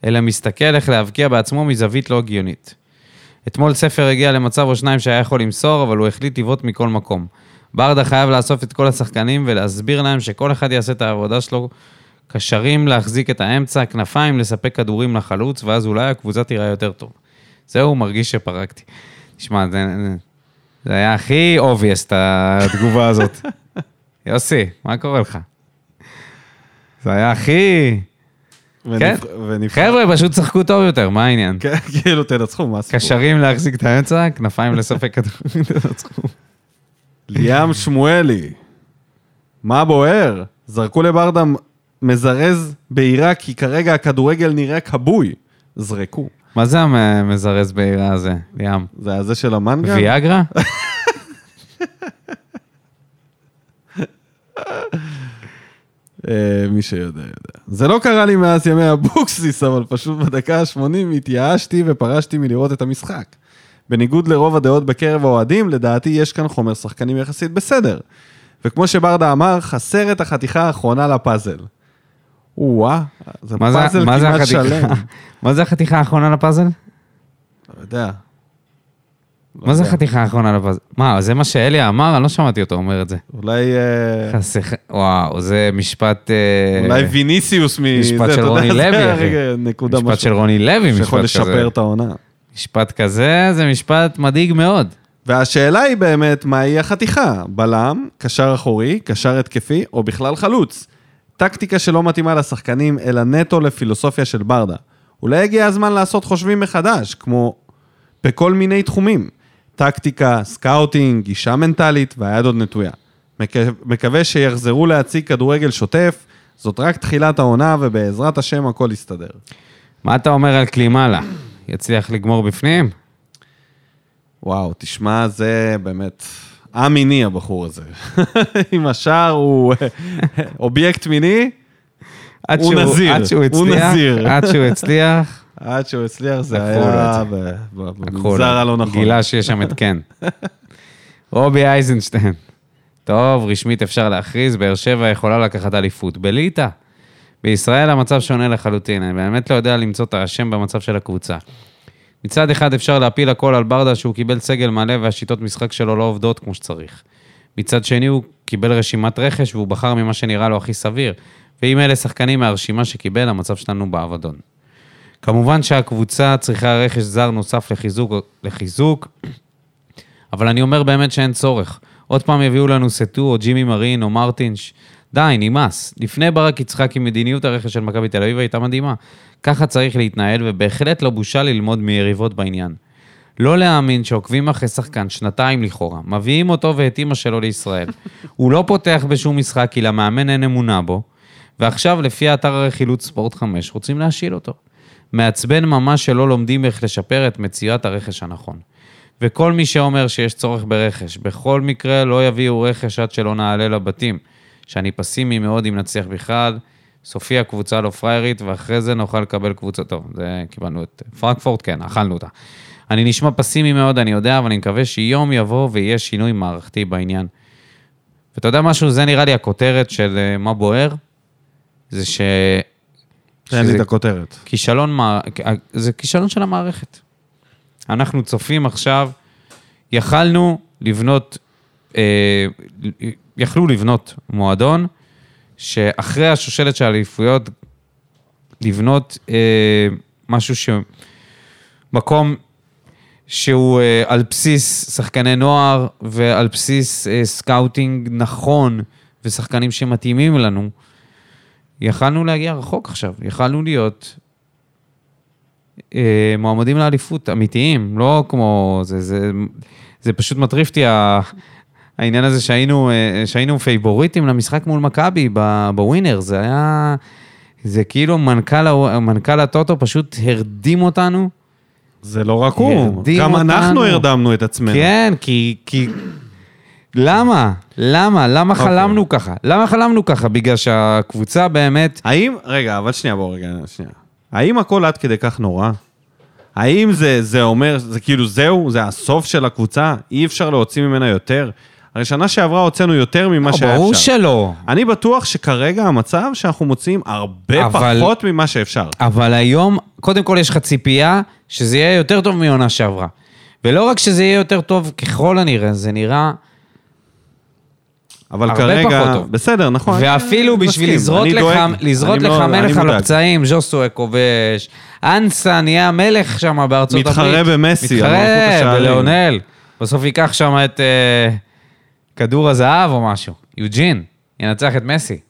אלא מסתכל איך להבקיע בעצמו מזווית לא הגיונית. אתמול ספר הגיע למצב או שניים שהיה יכול למסור, אבל הוא החליט לבעוט מכל מקום. ברדה חייב לאסוף את כל השחקנים ולהסביר להם שכל אחד יעשה את העבודה שלו. קשרים להחזיק את האמצע, כנפיים לספק כדורים לחלוץ, ואז אולי הקבוצה תיראה יותר טוב. זהו, מרגיש שפרקתי. תשמע, זה, זה היה הכי obvious, את התגובה הזאת. יוסי, מה קורה לך? זה היה הכי... כן.
ונבח- ונבח-
חבר'ה, פשוט שחקו טוב יותר, מה העניין?
כן, כאילו, תנצחו, מה הסיפור?
קשרים להחזיק את האמצע, כנפיים לספק כדורים.
ליאם שמואלי, מה בוער? זרקו לברדה מזרז בעיראק, כי כרגע הכדורגל נראה כבוי. זרקו.
מה זה המזרז בעירה הזה, ליאם?
זה הזה של המנגל?
ויאגרה?
אה, מי שיודע, יודע. זה לא קרה לי מאז ימי אבוקסיס, אבל פשוט בדקה ה-80 התייאשתי ופרשתי מלראות את המשחק. בניגוד לרוב הדעות בקרב האוהדים, לדעתי יש כאן חומר שחקנים יחסית בסדר. וכמו שברדה אמר, חסר את החתיכה האחרונה לפאזל. או-אה, זה
מה זה-
פאזל
מה זה
כמעט
החתיכה?
שלם.
מה זה החתיכה האחרונה לפאזל?
לא יודע.
מה
לא
זה החתיכה האחרונה לפאזל? מה, זה מה שאלי אמר? אני לא שמעתי אותו אומר את זה.
אולי... אה,
חסך- וואו, זה משפט... אה,
אולי ויניסיוס מ...
משפט
זה, אתה
של
יודע,
רוני
זה
לוי,
הרגע
אחי.
נקודה
משפט
משהו
של רוני לוי, משפט כזה.
שיכול לשפר את העונה.
משפט כזה זה משפט מדאיג מאוד.
והשאלה היא באמת, מהי החתיכה? בלם, קשר אחורי, קשר התקפי, או בכלל חלוץ? טקטיקה שלא מתאימה לשחקנים, אלא נטו לפילוסופיה של ברדה. אולי הגיע הזמן לעשות חושבים מחדש, כמו בכל מיני תחומים. טקטיקה, סקאוטינג, גישה מנטלית, והיד עוד נטויה. מקו- מקווה שיחזרו להציג כדורגל שוטף, זאת רק תחילת העונה, ובעזרת השם הכל יסתדר.
מה אתה אומר על קלימלה? יצליח לגמור בפנים?
וואו, תשמע, זה באמת... עם מיני הבחור הזה. עם השער הוא אובייקט מיני,
עד
הוא
שהוא-
נזיר,
עד שהוא
הוא
הצליח,
נזיר.
עד שהוא הצליח,
עד שהוא הצליח זה
לקחו לו
היה
את
ב- ב-
לקחו
במגזר הלא
לו,
נכון.
גילה שיש שם את קן. רובי אייזנשטיין. טוב, רשמית אפשר להכריז, באר שבע יכולה לקחת אליפות. בליטא. בישראל המצב שונה לחלוטין, אני באמת לא יודע למצוא את האשם במצב של הקבוצה. מצד אחד אפשר להפיל הכל על ברדה שהוא קיבל סגל מלא והשיטות משחק שלו לא עובדות כמו שצריך. מצד שני הוא קיבל רשימת רכש והוא בחר ממה שנראה לו הכי סביר. ואם אלה שחקנים מהרשימה שקיבל, המצב שלנו באבדון. כמובן שהקבוצה צריכה רכש זר נוסף לחיזוק, לחיזוק, אבל אני אומר באמת שאין צורך. עוד פעם יביאו לנו סטו או ג'ימי מרין או מרטינש. די, נמאס. לפני ברק יצחקי, מדיניות הרכש של מכבי תל אביב הייתה מדהימה. ככה צריך להתנהל, ובהחלט לא בושה ללמוד מיריבות בעניין. לא להאמין שעוקבים אחרי שחקן שנתיים לכאורה, מביאים אותו ואת אימא שלו לישראל. הוא לא פותח בשום משחק כי למאמן אין אמונה בו, ועכשיו לפי אתר הרכילות ספורט 5 רוצים להשיל אותו. מעצבן ממש שלא לומדים איך לשפר את מציאת הרכש הנכון. וכל מי שאומר שיש צורך ברכש, בכל מקרה לא יביאו רכש עד שלא נעלה לבתים, שאני פסימי מאוד אם נצליח בכלל. סופי הקבוצה לא פריירית, ואחרי זה נוכל לקבל קבוצה. טוב, זה קיבלנו את פרנקפורט, כן, אכלנו אותה. אני נשמע פסימי מאוד, אני יודע, אבל אני מקווה שיום יבוא ויהיה שינוי מערכתי בעניין. ואתה יודע משהו? זה נראה לי הכותרת של אה, מה בוער, זה ש...
תן לי
שזה
את הכותרת.
כישלון, מע- זה כישלון של המערכת. אנחנו צופים עכשיו, יכלנו לבנות, אה, יכלו לבנות מועדון, שאחרי השושלת של האליפויות, לבנות אה, משהו ש... מקום שהוא אה, על בסיס שחקני נוער ועל בסיס אה, סקאוטינג נכון ושחקנים שמתאימים לנו, יכלנו להגיע רחוק עכשיו, יכלנו להיות אה, מועמדים לאליפות אמיתיים, לא כמו... זה, זה, זה פשוט מטריף אותי ה- העניין הזה שהיינו, אה, שהיינו פייבוריטים למשחק מול מכבי ב- בווינר, זה היה... זה כאילו מנכ"ל, ה- מנכ"ל הטוטו פשוט הרדים אותנו.
זה לא רק הוא,
הרדים
גם אנחנו
אותנו.
הרדמנו את עצמנו.
כן, כי... כי... למה? למה? למה
אוקיי.
חלמנו ככה? למה חלמנו ככה? בגלל שהקבוצה באמת...
האם, רגע, אבל שנייה, בואו רגע, שנייה. האם הכל עד כדי כך נורא? האם זה, זה אומר, זה כאילו זהו, זה הסוף של הקבוצה? אי אפשר להוציא ממנה יותר? הרי שנה שעברה הוצאנו יותר ממה שהיה אפשר.
לא, ברור שלא.
אני בטוח שכרגע המצב שאנחנו מוציאים הרבה
אבל-
פחות ממה שאפשר.
אבל היום, קודם כל יש לך ציפייה שזה יהיה יותר טוב מעונה שעברה. ולא רק שזה יהיה יותר טוב, ככל הנראה, זה נראה...
אבל
הרבה
כרגע...
פחות טוב.
בסדר, נכון.
ואפילו
אני
בשביל
מסכים,
לזרות
אני
לך-
דואג,
לזרות
אני
לך
לא- אני
מלך על
מודאג.
הפצעים, ז'וסווה כובש, אנסה נהיה המלך שם בארצות
מתחרה
הברית.
במסי, על מלכות
מתחרה
השערים.
בלאונל. בסוף ייקח שם את אה, כדור הזהב או משהו. יוג'ין, ינצח את מסי.
אם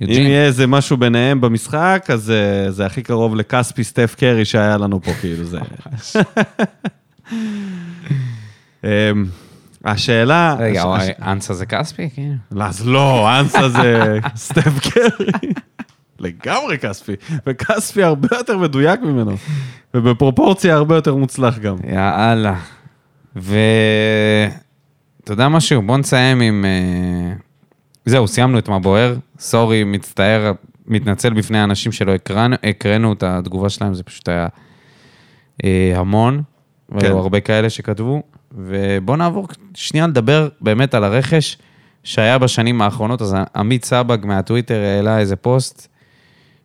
יוג'ין.
יהיה איזה משהו ביניהם במשחק, אז אה, זה הכי קרוב לכספי סטף קרי שהיה לנו פה, כאילו זה... אמ, השאלה...
רגע,
הש-
וואי,
הש-
אנסה זה כספי? כן.
לא, אז לא, אנסה זה סטף קרי. לגמרי כספי, וכספי הרבה יותר מדויק ממנו, ובפרופורציה הרבה יותר מוצלח גם.
יאללה. ו... אתה יודע משהו? בוא נסיים עם... אה, זהו, סיימנו את מה בוער. סורי, מצטער, מתנצל בפני האנשים שלא הקראנו, הקראנו את התגובה שלהם, זה פשוט היה אה, המון. והיו
כן.
הרבה כאלה שכתבו. ובוא נעבור שנייה לדבר באמת על הרכש שהיה בשנים האחרונות. אז עמית סבג מהטוויטר העלה איזה פוסט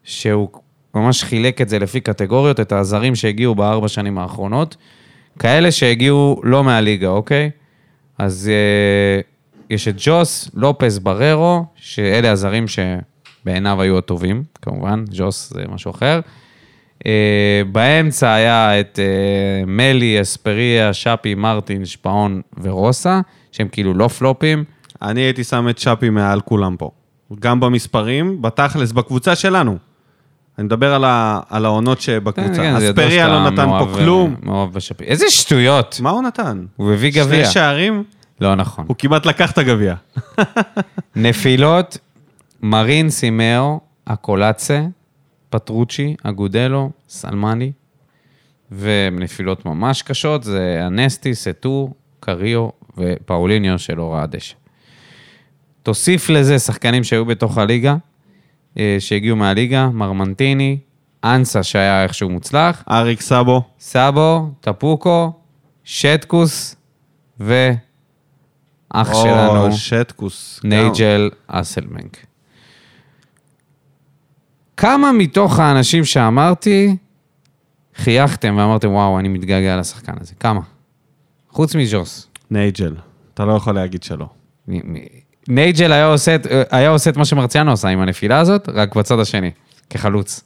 שהוא ממש חילק את זה לפי קטגוריות, את הזרים שהגיעו בארבע שנים האחרונות, כאלה שהגיעו לא מהליגה, אוקיי? אז אה, יש את ג'וס, לופס, בררו, שאלה הזרים שבעיניו היו הטובים, כמובן, ג'וס זה משהו אחר. אה, באמצע היה את אה, מלי, אספריה, שפי, מרטין, שפאון ורוסה, שהם כאילו לא פלופים.
אני הייתי שם את שפי מעל כולם פה. גם במספרים, בתכלס, בקבוצה שלנו. אני מדבר על, ה, על העונות שבקבוצה.
כן, זה ידוע
אספריה לא
שאתה
נתן פה
מאוהב, אה,
כלום.
מאוהב בשפי. איזה שטויות.
מה הוא נתן?
הוא הביא גביע.
שני שערים,
לא נכון.
הוא כמעט לקח את הגביע.
נפילות, מרין סימאו, אקולצה, פטרוצ'י, אגודלו, סלמני, ונפילות ממש קשות זה אנסטי, סטו, קריו ופאוליניו של הוראה הדשא. תוסיף לזה שחקנים שהיו בתוך הליגה, אה, שהגיעו מהליגה, מרמנטיני, אנסה שהיה איכשהו מוצלח,
אריק סאבו,
סאבו, טפוקו, שטקוס ואח שלנו.
או שטקוס.
נייג'ל אסלמנק. כמה מתוך האנשים שאמרתי, חייכתם ואמרתם, וואו, אני מתגעגע לשחקן הזה? כמה? חוץ מג'וס.
גם- נייג'ל, אתה לא יכול להגיד שלא.
מ- מ- נייג'ל היה עושה, את, היה עושה את מה שמרציאנו עשה עם הנפילה הזאת, רק בצד השני, כחלוץ.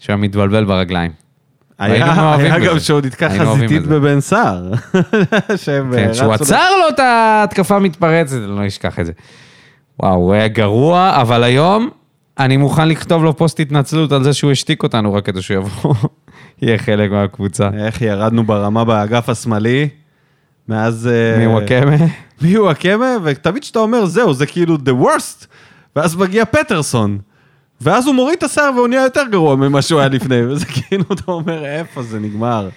שהוא היה מתבלבל ברגליים. והיינו
היה,
מאוהבים
היה
בזה.
גם שהוא נתקע
היינו אוהבים
חזיתית
בזה.
בבן סער. שהם,
כן,
אה,
שהוא
רצו
עצר לו את ההתקפה המתפרצת, אני לא אשכח את זה. וואו, הוא היה גרוע, אבל היום אני מוכן לכתוב לו פוסט התנצלות על זה שהוא השתיק אותנו רק כדי שהוא יבוא, יהיה חלק מהקבוצה.
ל- איך ירדנו ברמה באגף השמאלי, מאז... אה,
מוואקמה.
מי הוא הקמא, ותמיד כשאתה אומר, זהו, זה כאילו the worst, ואז מגיע פטרסון. ואז הוא מוריד את השיער והוא נהיה יותר גרוע ממה שהוא היה לפני, וזה כאילו, אתה אומר, איפה זה נגמר?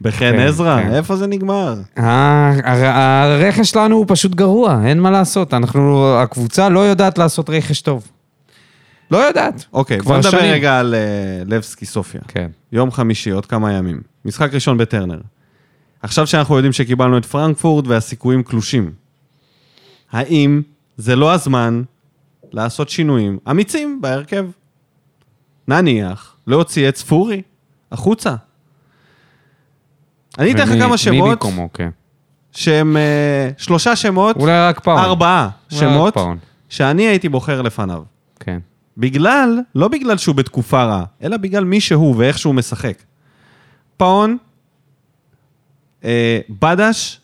בחן
כן,
עזרא,
כן.
איפה זה נגמר?
ה- אה, הר- הרכש שלנו הוא פשוט גרוע, אין מה לעשות. אנחנו, הקבוצה לא יודעת לעשות רכש טוב. לא יודעת.
אוקיי,
כבר
בוא נדבר
שנים.
רגע על אה, לבסקי סופיה.
כן.
יום חמישי, עוד כמה ימים. משחק ראשון בטרנר. עכשיו שאנחנו יודעים שקיבלנו את פרנקפורט והסיכויים קלושים, האם זה לא הזמן לעשות שינויים אמיצים בהרכב. נניח, להוציא את ספורי החוצה. אני אתן לך
ומי-
כמה
מי
שמות
במקומו, כן.
שהם אה, שלושה שמות,
אולי רק פאון.
ארבעה
אולי רק
שמות,
פאון,
שאני הייתי בוחר לפניו.
כן.
בגלל, לא בגלל שהוא בתקופה רעה, אלא בגלל מי שהוא ואיך שהוא משחק. פאון, אה, בדש,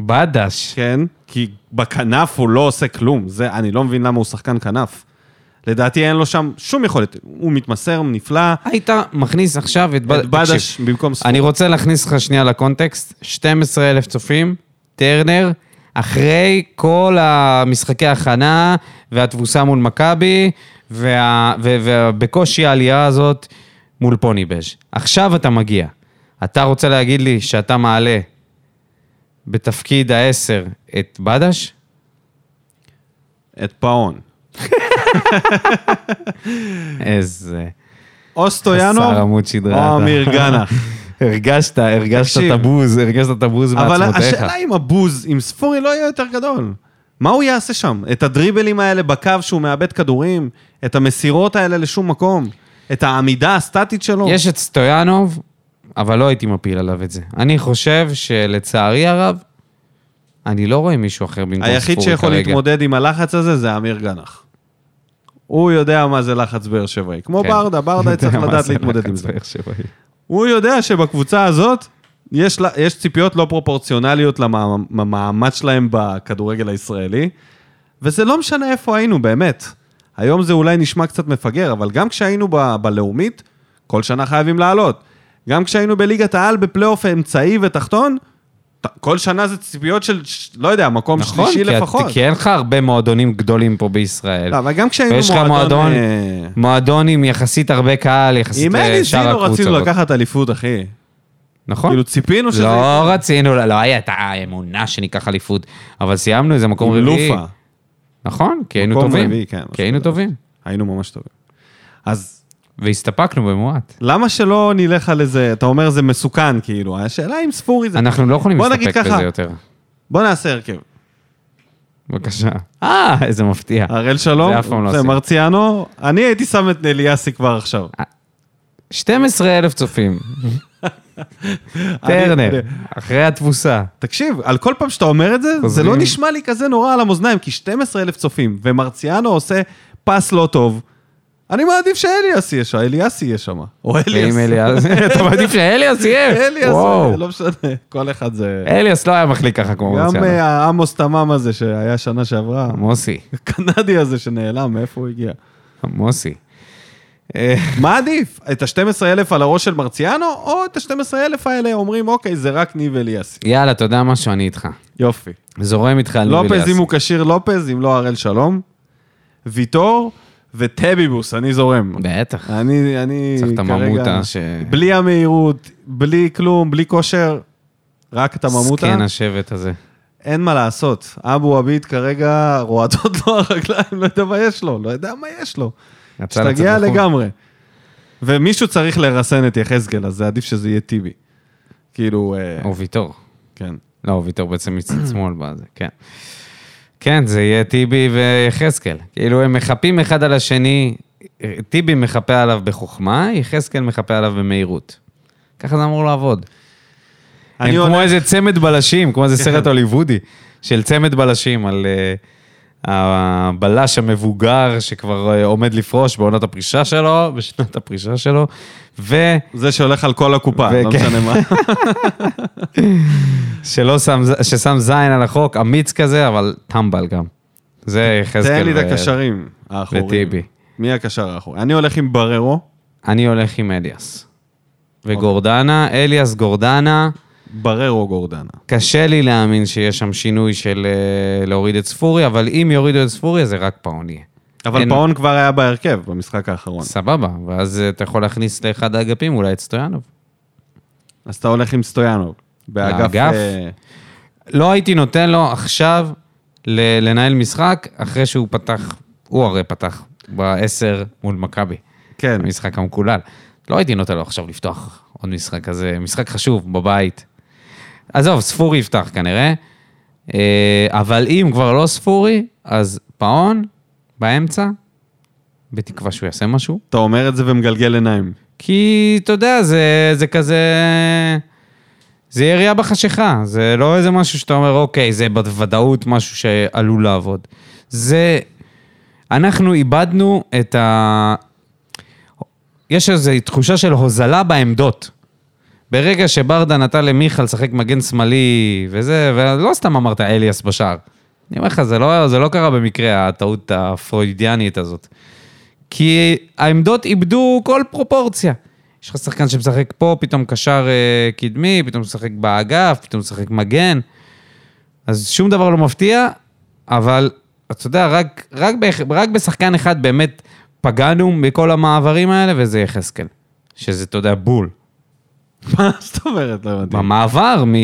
בדש.
כן, כי בכנף הוא לא עושה כלום, זה, אני לא מבין למה הוא שחקן כנף. לדעתי אין לו שם שום יכולת, הוא מתמסר, נפלא,
היית מכניס עכשיו את בד-
את בדש
תקשיב,
במקום ספורי.
אני רוצה להכניס לך שנייה לקונטקסט. 12,000 צופים, טרנר, אחרי כל המשחקי ההכנה והתבוסה מול מכבי, וה- ו- ובקושי העלייה הזאת מול פוניבז'. עכשיו אתה מגיע. אתה רוצה להגיד לי שאתה מעלה בתפקיד העשר את בדש?
את פאון.
איזה...
או
חסר
סטויאנו,
עמוד שדרה.
או
אתה.
אמיר גנח.
הרגשת, הרגשת
תקשיב.
את הבוז, הרגשת את הבוז
אבל
מעצמותיך.
השאלה אם הבוז, אם ספורי לא יהיה יותר גדול. מה הוא יעשה שם? את הדריבלים האלה בקו שהוא מאבד כדורים? את המסירות האלה לשום מקום? את העמידה הסטטית שלו?
יש את סטויאנוב, אבל לא הייתי מפיל עליו את זה. אני חושב שלצערי הרב, אני לא רואה מישהו אחר במקום ספורי כרגע.
היחיד שיכול להתמודד עם הלחץ הזה זה אמיר גנח. הוא יודע מה זה לחץ באר שבעי. כמו
כן.
ברדה, ברדה
אתה יודע
צריך
מה
לדעת
זה
להתמודד עם
לחץ
זה.
באר שבעי.
הוא יודע שבקבוצה הזאת יש, לה- יש ציפיות לא פרופורציונליות למעמד שלהם בכדורגל הישראלי, וזה לא משנה איפה היינו, באמת. היום זה אולי נשמע קצת מפגר, אבל גם כשהיינו ב, בלאומית, כל שנה חייבים לעלות. גם כשהיינו בליגת העל בפלייאוף אמצעי ותחתון, ת- כל שנה זה ציפיות של, ש- לא יודע, מקום
נכון,
שלישי
כי את-
לפחות.
כי אין לך הרבה מועדונים גדולים פה בישראל.
לא, אבל גם כשהיינו
ויש לך מועדון,
אה,
מועדון עם יחסית הרבה קהל, יחסית
עם אלי
לשאר
זינו רצינו
הקבוצות.
לקחת אליפות, אחי.
נכון?
כאילו ציפינו שזה...
לא רצינו, לא לא הייתה אמונה שניקח אליפות, אבל סיימנו איזה מקום
עם
רביעי.
לופה.
נכון, כי היינו
מקום
טובים.
רביעי, כן, משהו
כי היינו
כזה.
טובים.
היינו ממש טובים. אז
והסתפקנו במועט.
למה שלא נלך על איזה, אתה אומר זה מסוכן, כאילו, השאלה אם ספורי זה...
אנחנו לא יכולים
בוא נגיד
להסתפק
ככה.
בזה יותר.
בוא נעשה הרכב.
בבקשה. אה, איזה מפתיע.
הראל שלום,
זה אף פעם לא
זה
עושים.
מרציאנו, אני הייתי שם את אליאסי כבר עכשיו.
12,000 צופים. טרנר,
אני-
אחרי התבוסה.
תקשיב, על כל פעם שאתה אומר את זה, זה
חוזרים.
לא נשמע לי כזה נורא על המאזניים, כי 12,000 צופים, ומרציאנו עושה פס לא טוב, אני מעדיף שאליאס יהיה שם, אליאסי יהיה שם, או אליאס.
ואם אליאס, אתה מעדיף שאליאס יהיה?
אליאס,
וואו.
לא משנה, כל אחד זה...
אליאס לא היה מחליק ככה כמו
גם
מרציאנו. אה,
אה, העמוס תמם הזה שהיה שנה שעברה,
מוסי,
הקנדי הזה שנעלם, מאיפה הוא הגיע?
מוסי.
מה עדיף? את ה-12,000 על הראש של מרציאנו, או את ה-12,000 האלה אומרים, אוקיי, זה רק ניב אליאסי.
יאללה, אתה יודע משהו? אני איתך.
יופי.
זורם איתך על ניב
לופז,
אליאס.
אם הוא כשיר לופז, אם לא הראל שלום. ויטור וטביבוס, אני זורם.
בטח.
אני, אני
צריך את הממותה ש-
בלי המהירות, בלי כלום, בלי כושר, רק את הממותה.
זקן השבט הזה.
אין מה לעשות. אבו עביד כרגע רועדות לו הרגליים, לא יודע מה יש לו, לא יודע מה יש לו.
רצה לצאת
השתגע
לחו"ל.
לגמרי. ומישהו צריך לרסן את יחזקאל, אז זה עדיף שזה יהיה טיבי. כאילו, אה,
או ויטור.
כן.
לא, ויטור בעצם מצד שמאל בזה, כן. כן, זה יהיה טיבי ויחזקאל. כאילו, הם מחפים אחד על השני, טיבי מחפה עליו בחוכמה, יחזקאל מחפה עליו במהירות. ככה זה אמור לעבוד. הם
אני
כמו
הולך- כן.
איזה צמד בלשים, כמו איזה סרט הוליוודי של צמד בלשים על אה, הבלש המבוגר שכבר אה, עומד לפרוש בעונת הפרישה שלו, בשנת הפרישה שלו, ו...
זה שהולך על כל הקופה, לא
וכן.
משנה מה.
שלא שם, ששם זין על החוק, אמיץ כזה, אבל טמבל גם. זה יחזקאל.
תן לי את
ו-
הקשרים האחורים.
וטיבי.
מי הקשר האחורי? אני הולך עם בררו,
אני הולך עם אליאס.
אוקיי.
וגורדנה, אליאס גורדנה,
בררו גורדנה.
קשה לי להאמין שיש שם שינוי של אה, להוריד את ספורי, אבל אם יורידו את ספורי, אז זה רק פאון יהיה.
אבל
אין-
פאון כבר היה בהרכב במשחק האחרון.
סבבה, ואז אה, אתה יכול להכניס לאחד האגפים אולי את סטויאנוב.
אז אתה הולך עם סטויאנוב. באגף...
באגף?
אה,
לא הייתי נותן לו עכשיו ל- לנהל משחק אחרי שהוא פתח, הוא הרי פתח בעשר מול מכבי.
כן.
המשחק המקולל. לא הייתי נותן לו עכשיו לפתוח עוד משחק כזה, משחק חשוב בבית. עזוב, ספורי יפתח כנראה. אה, אבל אם כבר לא ספורי, אז פאון, באמצע, בתקווה שהוא יעשה משהו.
אתה אומר את זה ומגלגל עיניים.
כי אתה יודע, זה, זה כזה... זה ירייה בחשיכה, זה לא איזה משהו שאתה אומר, אוקיי, זה בוודאות משהו שעלול לעבוד. זה... אנחנו איבדנו את ה... יש איזו תחושה של הוזלה בעמדות. ברגע שברדה נתן למיכה לשחק מגן שמאלי וזה, ולא סתם אמרת אליאס בשער. אני אומר לך, זה לא, זה לא קרה במקרה, הטעות הפרוידיאנית הזאת. כי העמדות איבדו כל פרופורציה. יש לך שחקן שמשחק פה, פתאום קשר אה, קדמי, פתאום משחק באגף, פתאום משחק מגן. אז שום דבר לא מפתיע, אבל אתה יודע, רק, רק, באח- רק בשחקן אחד באמת פגענו מכל המעברים האלה, וזה יחזקאל. שזה, אתה יודע, בול.
מה זאת אומרת? לא הבנתי.
במעבר מ...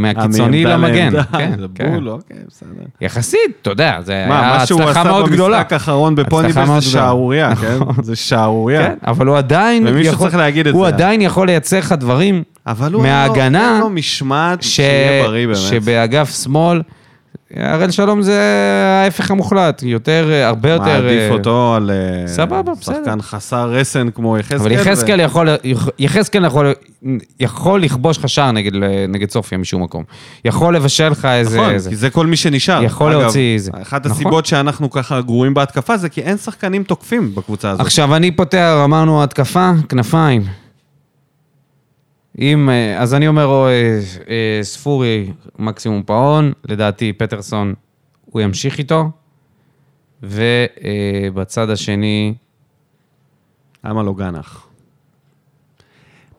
מהקיצוני
מעמדה
למגן.
לעמדה,
כן,
זה
כן.
בול, אוקיי, בסדר.
יחסית, אתה יודע, זה
מה,
היה
מה שהוא
הצלחה
עשה
מאוד גדולה.
במשחק האחרון בפוניבס
הצלחה
זה
מאוד גדולה. נכון.
שערורייה, כן? זה שערורייה.
כן, אבל הוא עדיין
ומישהו צריך להגיד את
הוא
זה.
עדיין יכול לייצר לך דברים
אבל הוא לא- אין
מההגנה,
לו משמעת
ש...
שיהיה בריא באמת.
שבאגף שמאל, הראל שלום זה ההפך המוחלט, יותר, הרבה יותר...
מעדיף
אה,
אותו על אה,
סבבה,
שחקן
בסדר.
חסר רסן כמו יחזקאל.
אבל
ו-
יחזקאל יכול, יחזקאל יכול, יכול לכבוש לך שער נגד, נגד סופיה משום מקום. יכול לבשל לך איזה...
נכון,
איזה.
כי זה כל מי שנשאר.
יכול
אגב,
להוציא זה.
אחת
נכון.
הסיבות שאנחנו ככה גרועים בהתקפה זה כי אין שחקנים תוקפים בקבוצה הזאת.
עכשיו, אני פותח, אמרנו התקפה, כנפיים. אם, אה, אז אני אומר, או, אה, אה, ספורי, מקסימום פאון, לדעתי פטרסון, הוא ימשיך איתו, ובצד השני,
למה לא גנח?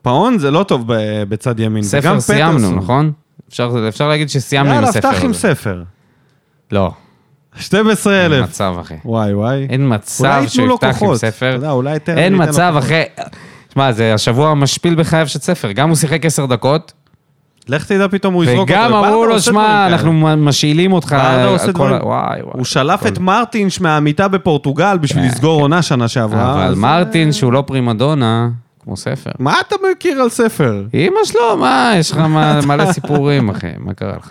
פאון זה לא טוב ב- בצד ימין, וגם
ספר
פטרסון.
סיימנו, נכון? אפשר, אפשר להגיד שסיימנו עם
יאללה,
הספר
פתח עם
הזה.
ספר.
לא,
12,000.
אין מצב, אחי.
וואי וואי.
אין מצב
ייתנו לו
שהוא יפתח עם
כוחות.
ספר.
אתה יודע, אולי טרנר
אין
ייתן לו
מצב,
כוחות.
אחי. שמע, זה השבוע המשפיל בחייו של ספר. גם הוא שיחק עשר דקות,
לך תדע פתאום הוא יזרוק אותו.
וגם
ברדה
אמרו לו,
עושה דברים
שמע,
כאלה."
אנחנו מ- משאילים אותך.
ברדה
על
עושה
כל
דברים.
ה- וואי, וואי.
הוא שלף את מרטינש מהמיטה בפורטוגל בשביל
כן,
לסגור עונה שנה שעברה.
אבל
אז-
מרטין, שהוא לא פרימדונה, כמו ספר.
מה אתה מכיר על ספר?
אמא שלו, מה, יש לך מה- מלא סיפורים, אחי, מה קרה לך?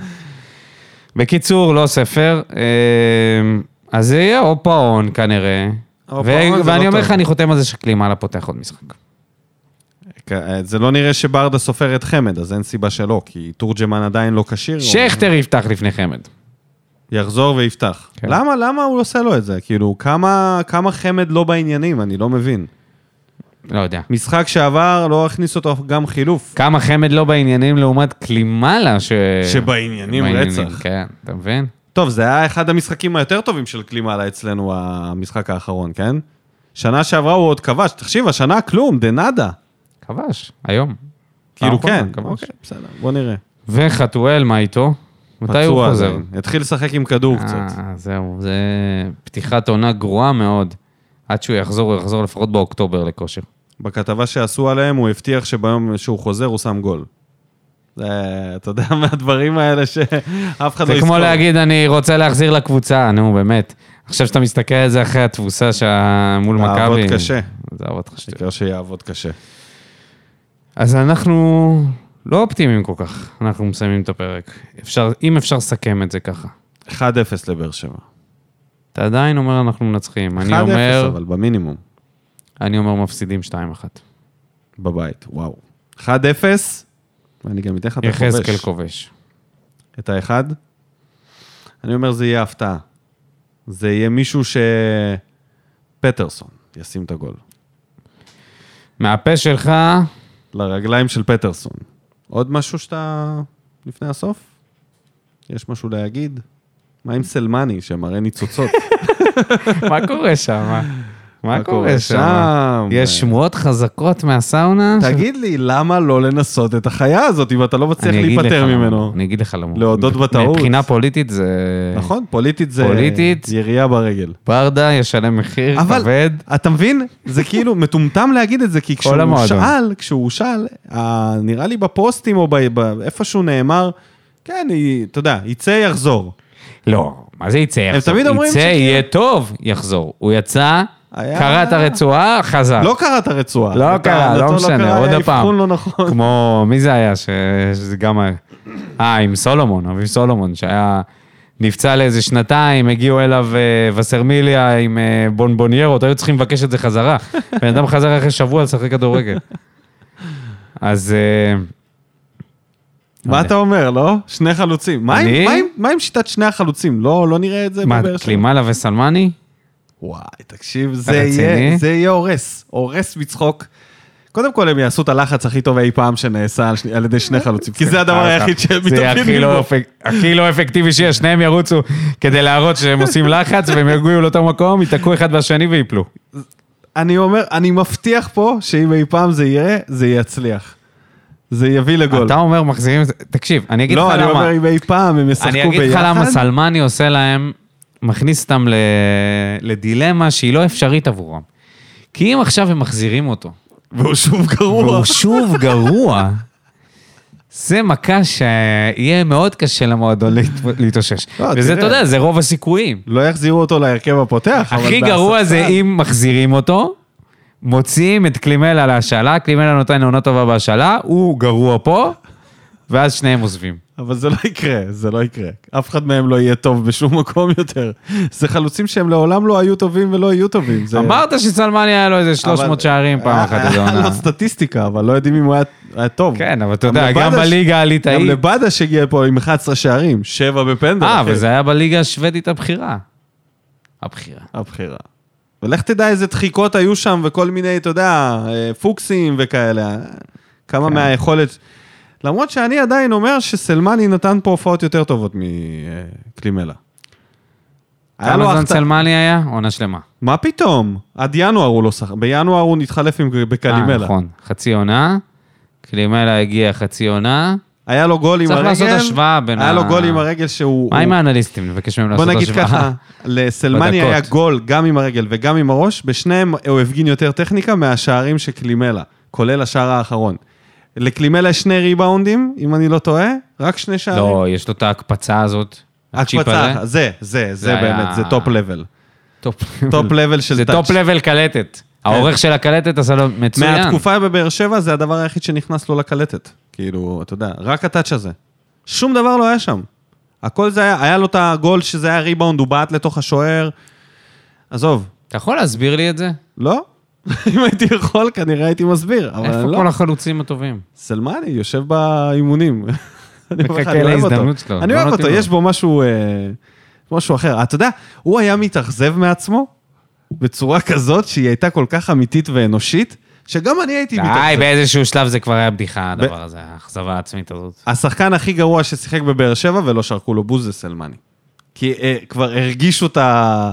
בקיצור, לא ספר. אמ, אז זה יהיה או פאון כנראה.
אבל
ו-
פאון זה לא
ואני אומר
טוב.
לך, אני חותם על זה שקלימאלה פותח עוד משחק. כן.
זה לא נראה שברדה סופר את חמד, אז אין סיבה שלא, כי תורג'מן עדיין לא כשיר.
שכטר יפתח לפני חמד.
הוא יחזור ויפתח.
כן.
למה, למה הוא עושה לו את זה? כאילו, כמה כמה חמד לא בעניינים, אני לא מבין.
לא יודע.
משחק שעבר, לא הכניס אותו גם חילוף.
כמה חמד לא בעניינים לעומת קלימאלה ש...
שבעניינים
בעניינים,
רצח.
כן, אתה מבין?
טוב, זה היה אחד המשחקים היותר טובים של קלימאלה אצלנו, המשחק האחרון, כן? שנה שעברה הוא עוד כבש, תקשיב, השנה כלום, דנאדה.
כבש, היום.
כאילו
פעם
כן,
אחרונה, נכון, כבש.
אוקיי, בסדר, בוא נראה.
וחתואל, מה איתו? מתי הוא
פצוע
חוזר?
עדיין. התחיל לשחק עם כדור קצת.
אה, זהו, זה פתיחת עונה גרועה מאוד. עד שהוא יחזור, הוא יחזור לפחות באוקטובר לכושר.
בכתבה שעשו עליהם, הוא הבטיח שביום שהוא חוזר, הוא שם גול. זה, אתה יודע, מהדברים האלה שאף אחד לא
זה
יזכור.
כמו להגיד, אני רוצה להחזיר לקבוצה, נו, באמת. עכשיו שאתה מסתכל על זה אחרי התבוסה שה... מול
לעבוד
מכבי.
קשה.
זה עבוד קשה.
העיקר שיעבוד קשה.
אז אנחנו לא אופטימיים כל כך, אנחנו מסיימים את הפרק. אפשר, אם אפשר לסכם את זה ככה.
1-0 לבאר שבע. 1-0
אתה עדיין אומר אנחנו מנצחים. אני אומר,
אבל במינימום,
אני אומר מפסידים 2-1.
בבית, וואו. 1-0, ואני גם אתן לך את הכובש.
יחזקאל כובש.
את האחד. אני אומר, זה יהיה הפתעה. זה יהיה מישהו ש... פטרסון ישים את הגול.
מהפה שלך,
לרגליים של פטרסון. עוד משהו שאתה... לפני הסוף? יש משהו להגיד? מה עם סלמני שמראה ניצוצות?
מה קורה שם? מה קורה שם?
שם?
יש שמועות חזקות מהסאונה?
תגיד לי, למה לא לנסות את החיה הזאת אם אתה לא מצליח
אני אגיד
להיפטר
לך למה,
ממנו?
אני אגיד לך למה.
להודות בטעות.
מבחינה פוליטית זה...
נכון, פוליטית זה
פוליטית.
ירייה ברגל.
ברדה ישלם מחיר
אבל
כבד.
אתה מבין? זה כאילו מטומטם להגיד את זה, כי כשהוא
המועדון.
שאל, כשהוא שאל, אה, נראה לי בפוסטים או ב- ב- איפשהו נאמר, כן, היא- אתה יודע, יצא, יחזור.
לא, מה זה יצא יחזור?
תמיד אומרים
יצא,
שכאילו-
יהיה טוב, יחזור. הוא יצא,
היה-
קרע את הרצועה, חזר.
לא קרא את הרצועה.
לא
אתה-
קרה,
אתה
לא משנה,
קרא,
עוד
היה
פעם.
אבחון לא נכון.
כמו, מי זה היה? ש- שזה גם היה... אה, עם סולומון, אביב סולומון, שהיה... נפצע לאיזה שנתיים, הגיעו אליו אה, וסרמיליה עם אה, בונבוניירות, היו צריכים לבקש את זה חזרה. בן אדם חזר אחרי שבוע לשחק כדורגל. אז... אה,
מה אתה אומר, לא? שני חלוצים. מה עם-
אני?
מה עם- מה עם שיטת שני החלוצים? לא לא נראה את זה
מה,
בבאר שבע?
קלימאלה וסלמני?
וואי, תקשיב, זה יהיה,
רציני?
זה יהיה הורס, הורס מצחוק. קודם כל, הם יעשו את הלחץ הכי טוב אי פעם שנעשה על, שני, על ידי
אה?
שני חלוצים, כי זה הדבר היחיד שהם
זה יהיה
מתאבדים
הכי לא
בו.
אפק- הכי לא אפקטיבי שיש, שניהם ירוצו כדי להראות שהם עושים לחץ והם יגיעו לאותו מקום, ייתקעו אחד בשני ויפלו.
אני אומר, אני מבטיח פה שאם אי פעם זה יהיה, זה יצליח. זה יביא לגול.
אתה אומר מחזירים את זה, תקשיב, אני אגיד לך
לא, אני
למה.
אומר, אם אי פעם הם ישחקו
אני
ביחד...
אגיד לך למה סלמני עושה להם, מכניס אותם ל... לדילמה שהיא לא אפשרית עבורם. כי אם עכשיו הם מחזירים אותו,
והוא שוב גרוע.
והוא שוב גרוע, זה מכה שיהיה מאוד קשה למועדון להת- להתאושש.
לא,
וזה,
תראה.
אתה יודע, זה רוב הסיכויים.
לא יחזירו אותו להרכב הפותח, אבל...
הכי גרוע
בהספסל.
זה אם מחזירים אותו, מוציאים את קלימלה להשאלה, קלימלה נותן עונה טובה בהשאלה, הוא גרוע פה, ואז שניהם עוזבים.
אבל זה לא יקרה, זה לא יקרה. אף אחד מהם לא יהיה טוב בשום מקום יותר. זה חלוצים שהם לעולם לא היו טובים ולא יהיו טובים. זה...
אמרת שסלמני היה לו איזה
אבל- אה,
300 שערים פעם אחת איזה
היה
עונה.
לו לא סטטיסטיקה, אבל לא יודעים אם הוא היה- היה טוב.
כן, אבל אתה יודע, גם
לבדש-
בליגה
גם
הליטאית...
לבדש הגיע פה עם 11 שערים, 7 בפנדל.
אה,
אחי.
וזה היה בליגה השוודית הבכירה. הבכירה.
הבחירה. ולך תדע איזה דחיקות היו שם וכל מיני, אתה יודע, אה, פוקסים וכאלה. כמה
כן.
מהיכולת... למרות שאני עדיין אומר שסלמני נתן פה הופעות יותר טובות מקלימלה. היה לו
כמה זמן
החטא-
סלמני היה? עונה שלמה.
מה פתאום? עד ינואר הוא לא שחק, בינואר הוא נתחלף עם
אה,
בקלימלה.
נכון. חצי עונה, קלימלה הגיע חצי עונה.
היה לו גול עם
צריך
הרגל.
לעשות השוואה בין
היה
ה-
לו גול עם הרגל שהוא...
מה
הוא-
עם האנליסטים? נבקש מהם
בוא
לעשות
נגיד
השוואה.
ככה, לסלמני
בדקות.
היה גול גם עם הרגל וגם עם הראש, בשניהם הוא הפגין יותר טכניקה מהשערים של קלימלה, כולל השער האחרון. לקלימלה יש שני ריבאונדים, אם אני לא טועה, רק שני שערים.
לא, יש לו את ההקפצה הזאת. הצ'יפ הזה.
הקפצה, זה, זה, זה
זה
באמת,
היה-
זה טופ לבל.
טופ
טופ לבל של
זה
טאץ'.
טופ לבל קלטת. העורך של הקלטת עשה לו מצוין.
מהתקופה בבאר שבע זה הדבר היחיד שנכנס לו לקלטת. כאילו, אתה יודע, רק הטאץ' הזה. שום דבר לא היה שם. הכל זה היה, היה לו את הגול שזה היה ריבאונד, הוא בעט לתוך השוער. עזוב,
אתה יכול להסביר לי את זה?
לא. אם הייתי יכול, כנראה הייתי מסביר, אבל
איפה
אני לא.
כל החלוצים הטובים?
סלמני יושב באימונים. אני אומר לך,
מחכה
אני אוהב אותו.
להזדמנות שלו,
אני
לא
אוהב
נותנים
אותו,
לו.
יש בו משהו, אה, משהו אחר. אתה יודע, הוא היה מתאכזב מעצמו בצורה כזאת שהיא הייתה כל כך אמיתית ואנושית, שגם אני הייתי
די,
מתאכזב.
באיזשהו שלב זה כבר היה בדיחה, הדבר הזה, האכזבה העצמית הזאת.
השחקן הכי גרוע ששיחק בבאר שבע ולא שרקו לו בוז זה סלמני. כי אה, כבר הרגישו את ה...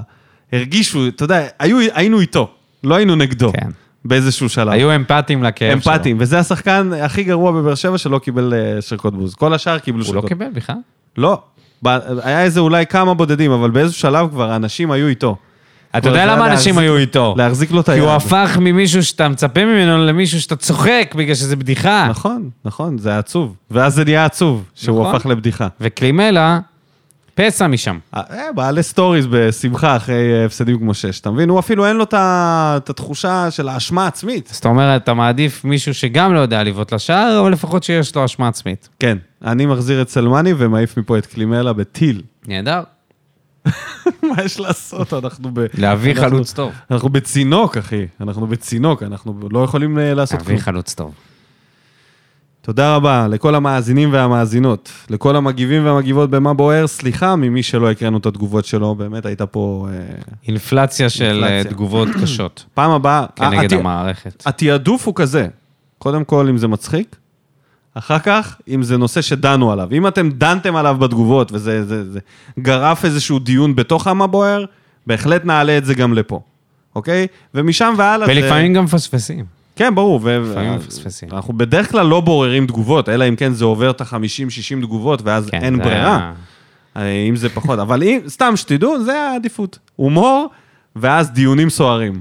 הרגישו, אתה יודע, היו, היינו איתו, לא היינו נגדו.
כן.
באיזשהו שלב.
היו אמפתיים לכאב שלו.
לא. אמפתיים, וזה השחקן הכי גרוע בבאר שבע שלא קיבל אה, שריקות בוז. כל השאר קיבלו
הוא לא
שריקות.
קיבל בכלל?
לא, ב- היה איזה אולי כמה בודדים, אבל באיזשהו שלב כבר האנשים היו איתו.
אתה
זה
יודע למה
היה
אנשים
להחזיק-
היו איתו?
להחזיק לו את
כי
היד.
הוא הפך ממישהו שאתה מצפה ממנו למישהו שאתה צוחק בגלל שזה בדיחה.
נכון, נכון, זה היה עצוב. ואז זה נהיה עצוב, שהוא
נכון.
הפך לבדיחה.
וקלימלה, פסע משם.
אה, בעלי סטוריז בשמחה אחרי אה, הפסדים כמו שש, אתה מבין? הוא אפילו אין לו את ה- את התחושה של האשמה העצמית.
זאת אומרת, אתה מעדיף מישהו שגם לא יודע לבעוט לשער, אבל לפחות שיש לו אשמה עצמית.
כן, אני מחזיר את סלמני ומעיף מפה את קלימלה בטיל.
נהדר.
מה יש לעשות? אנחנו ב...
להביא
אנחנו-
חלוץ טוב.
אנחנו בצינוק, אחי. אנחנו בצינוק, אנחנו לא יכולים אה, לעשות
להביא
כלום.
חלוץ טוב.
תודה רבה לכל המאזינים והמאזינות, לכל המגיבים והמגיבות במה בוער, סליחה ממי שלא הקראנו את התגובות שלו, באמת הייתה פה... אה,
אינפלציה של אה,
אינפלציה. אה,
תגובות קשות
פעם הבאה...
כנגד
הת-
המערכת.
התעדוף הוא כזה, קודם כל אם זה מצחיק, אחר כך אם זה נושא שדנו עליו. אם אתם דנתם עליו בתגובות וזה זה, זה, גרף איזשהו דיון בתוך המה בוער, בהחלט נעלה את זה גם לפה, אוקיי? ומשם והלאה... אה, זה-
ולפעמים גם מפספסים.
כן, ברור. ו-
לפעמים
ו-
מפספסים.
אנחנו בדרך כלל לא בוררים תגובות, אלא אם כן זה עובר את ה-50-60 תגובות, ואז
כן,
אין
זה
ברירה.
היה-
אה, אם זה פחות, אבל אם, סתם שתדעו, זה העדיפות. הומור, ואז דיונים סוערים.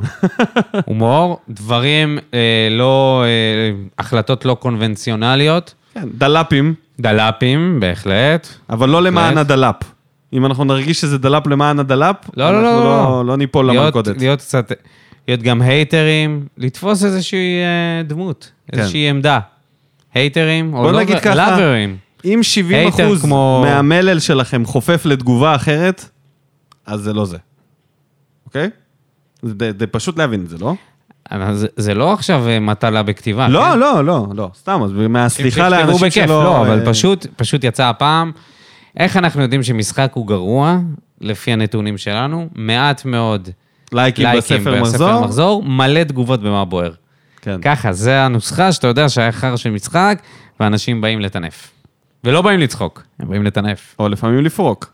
הומור, דברים אה, לא, אה, החלטות לא קונבנציונליות,
כן, דלפים,
דלפים בהחלט.
אבל לא למען
בהחלט.
הדלפ. אם אנחנו נרגיש שזה דלפ למען הדלפ,
לא, לא,
אנחנו
לא,
לא, לא ניפול
להיות-
למלכודת.
להיות קצת, להיות גם הייטרים, לתפוס איזושהי אה, דמות, איזושהי עמדה. הייטרים, או
כן. בוא
לא-
נגיד ככה,
לאברים.
אם 70
הייטר
אחוז
כמו-
מהמלל שלכם חופף לתגובה אחרת, אז זה לא זה, אוקיי? זה, זה, זה פשוט להבין את זה, לא?
אבל זה- זה לא עכשיו אה, מטלה בכתיבה. כן?
לא, לא, לא, לא, סתם, אז מהסליחה
תכתבו
לאנשים
בכיף,
שלא...
לא, אבל
אה,
פשוט, פשוט יצא הפעם. איך אנחנו יודעים שמשחק הוא גרוע, לפי הנתונים שלנו? מעט מאוד
לייקים
לייקים
בספר מחזור.
מחזור, מלא תגובות במה בוער.
כן.
ככה, זה הנוסחה שאתה יודע שהיה חרא של משחק, ואנשים באים לטנף. ולא באים לצחוק, הם באים לטנף.
או לפעמים לפרוק.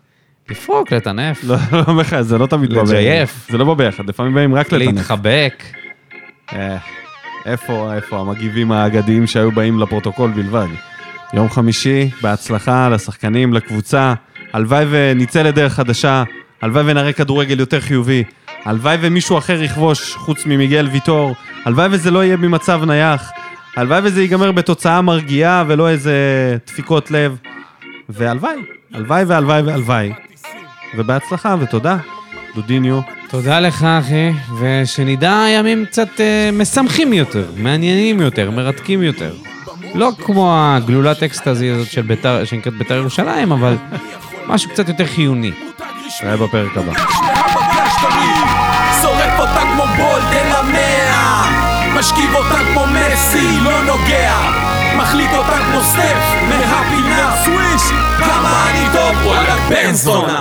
לפרוק, לטנף,
לא, לא, בכלל, זה לא תמיד בא ביחד.
לג'ייף.
זה לא בא ביחד, לפעמים באים רק לטנף.
להתחבק.
אה, איפה, איפה המגיבים האגדיים שהיו באים לפרוטוקול בלבד. יום חמישי, בהצלחה לשחקנים, לקבוצה. הלוואי ונצא לדרך חדשה, הלוואי ונראה כדורגל יותר חיובי. הלוואי ומישהו אחר יכבוש חוץ ממיגל ויטור. הלוואי וזה לא יהיה ממצב נייח. הלוואי וזה ייגמר בתוצאה מרגיעה ולא איזה דפיקות לב. והלוואי, הלוואי והלוואי והלוואי. ובהצלחה ותודה, דודיניו.
תודה לך, אחי, ושנדע ימים קצת אה, משמחים יותר, מעניינים יותר, מרתקים יותר. לא כמו הגלולת אקסטזי הזאת של ביתר, שנקראת ביתר ירושלים, אבל משהו קצת יותר חיוני.
נראה בפרק הבא.
שורף אותה כמו בולדן המאה משכיב אותה כמו מסי, לא נוגע מחליט אותה כמו סטף, מהפינה סוויש כמה אני טוב, וואלה בן זונה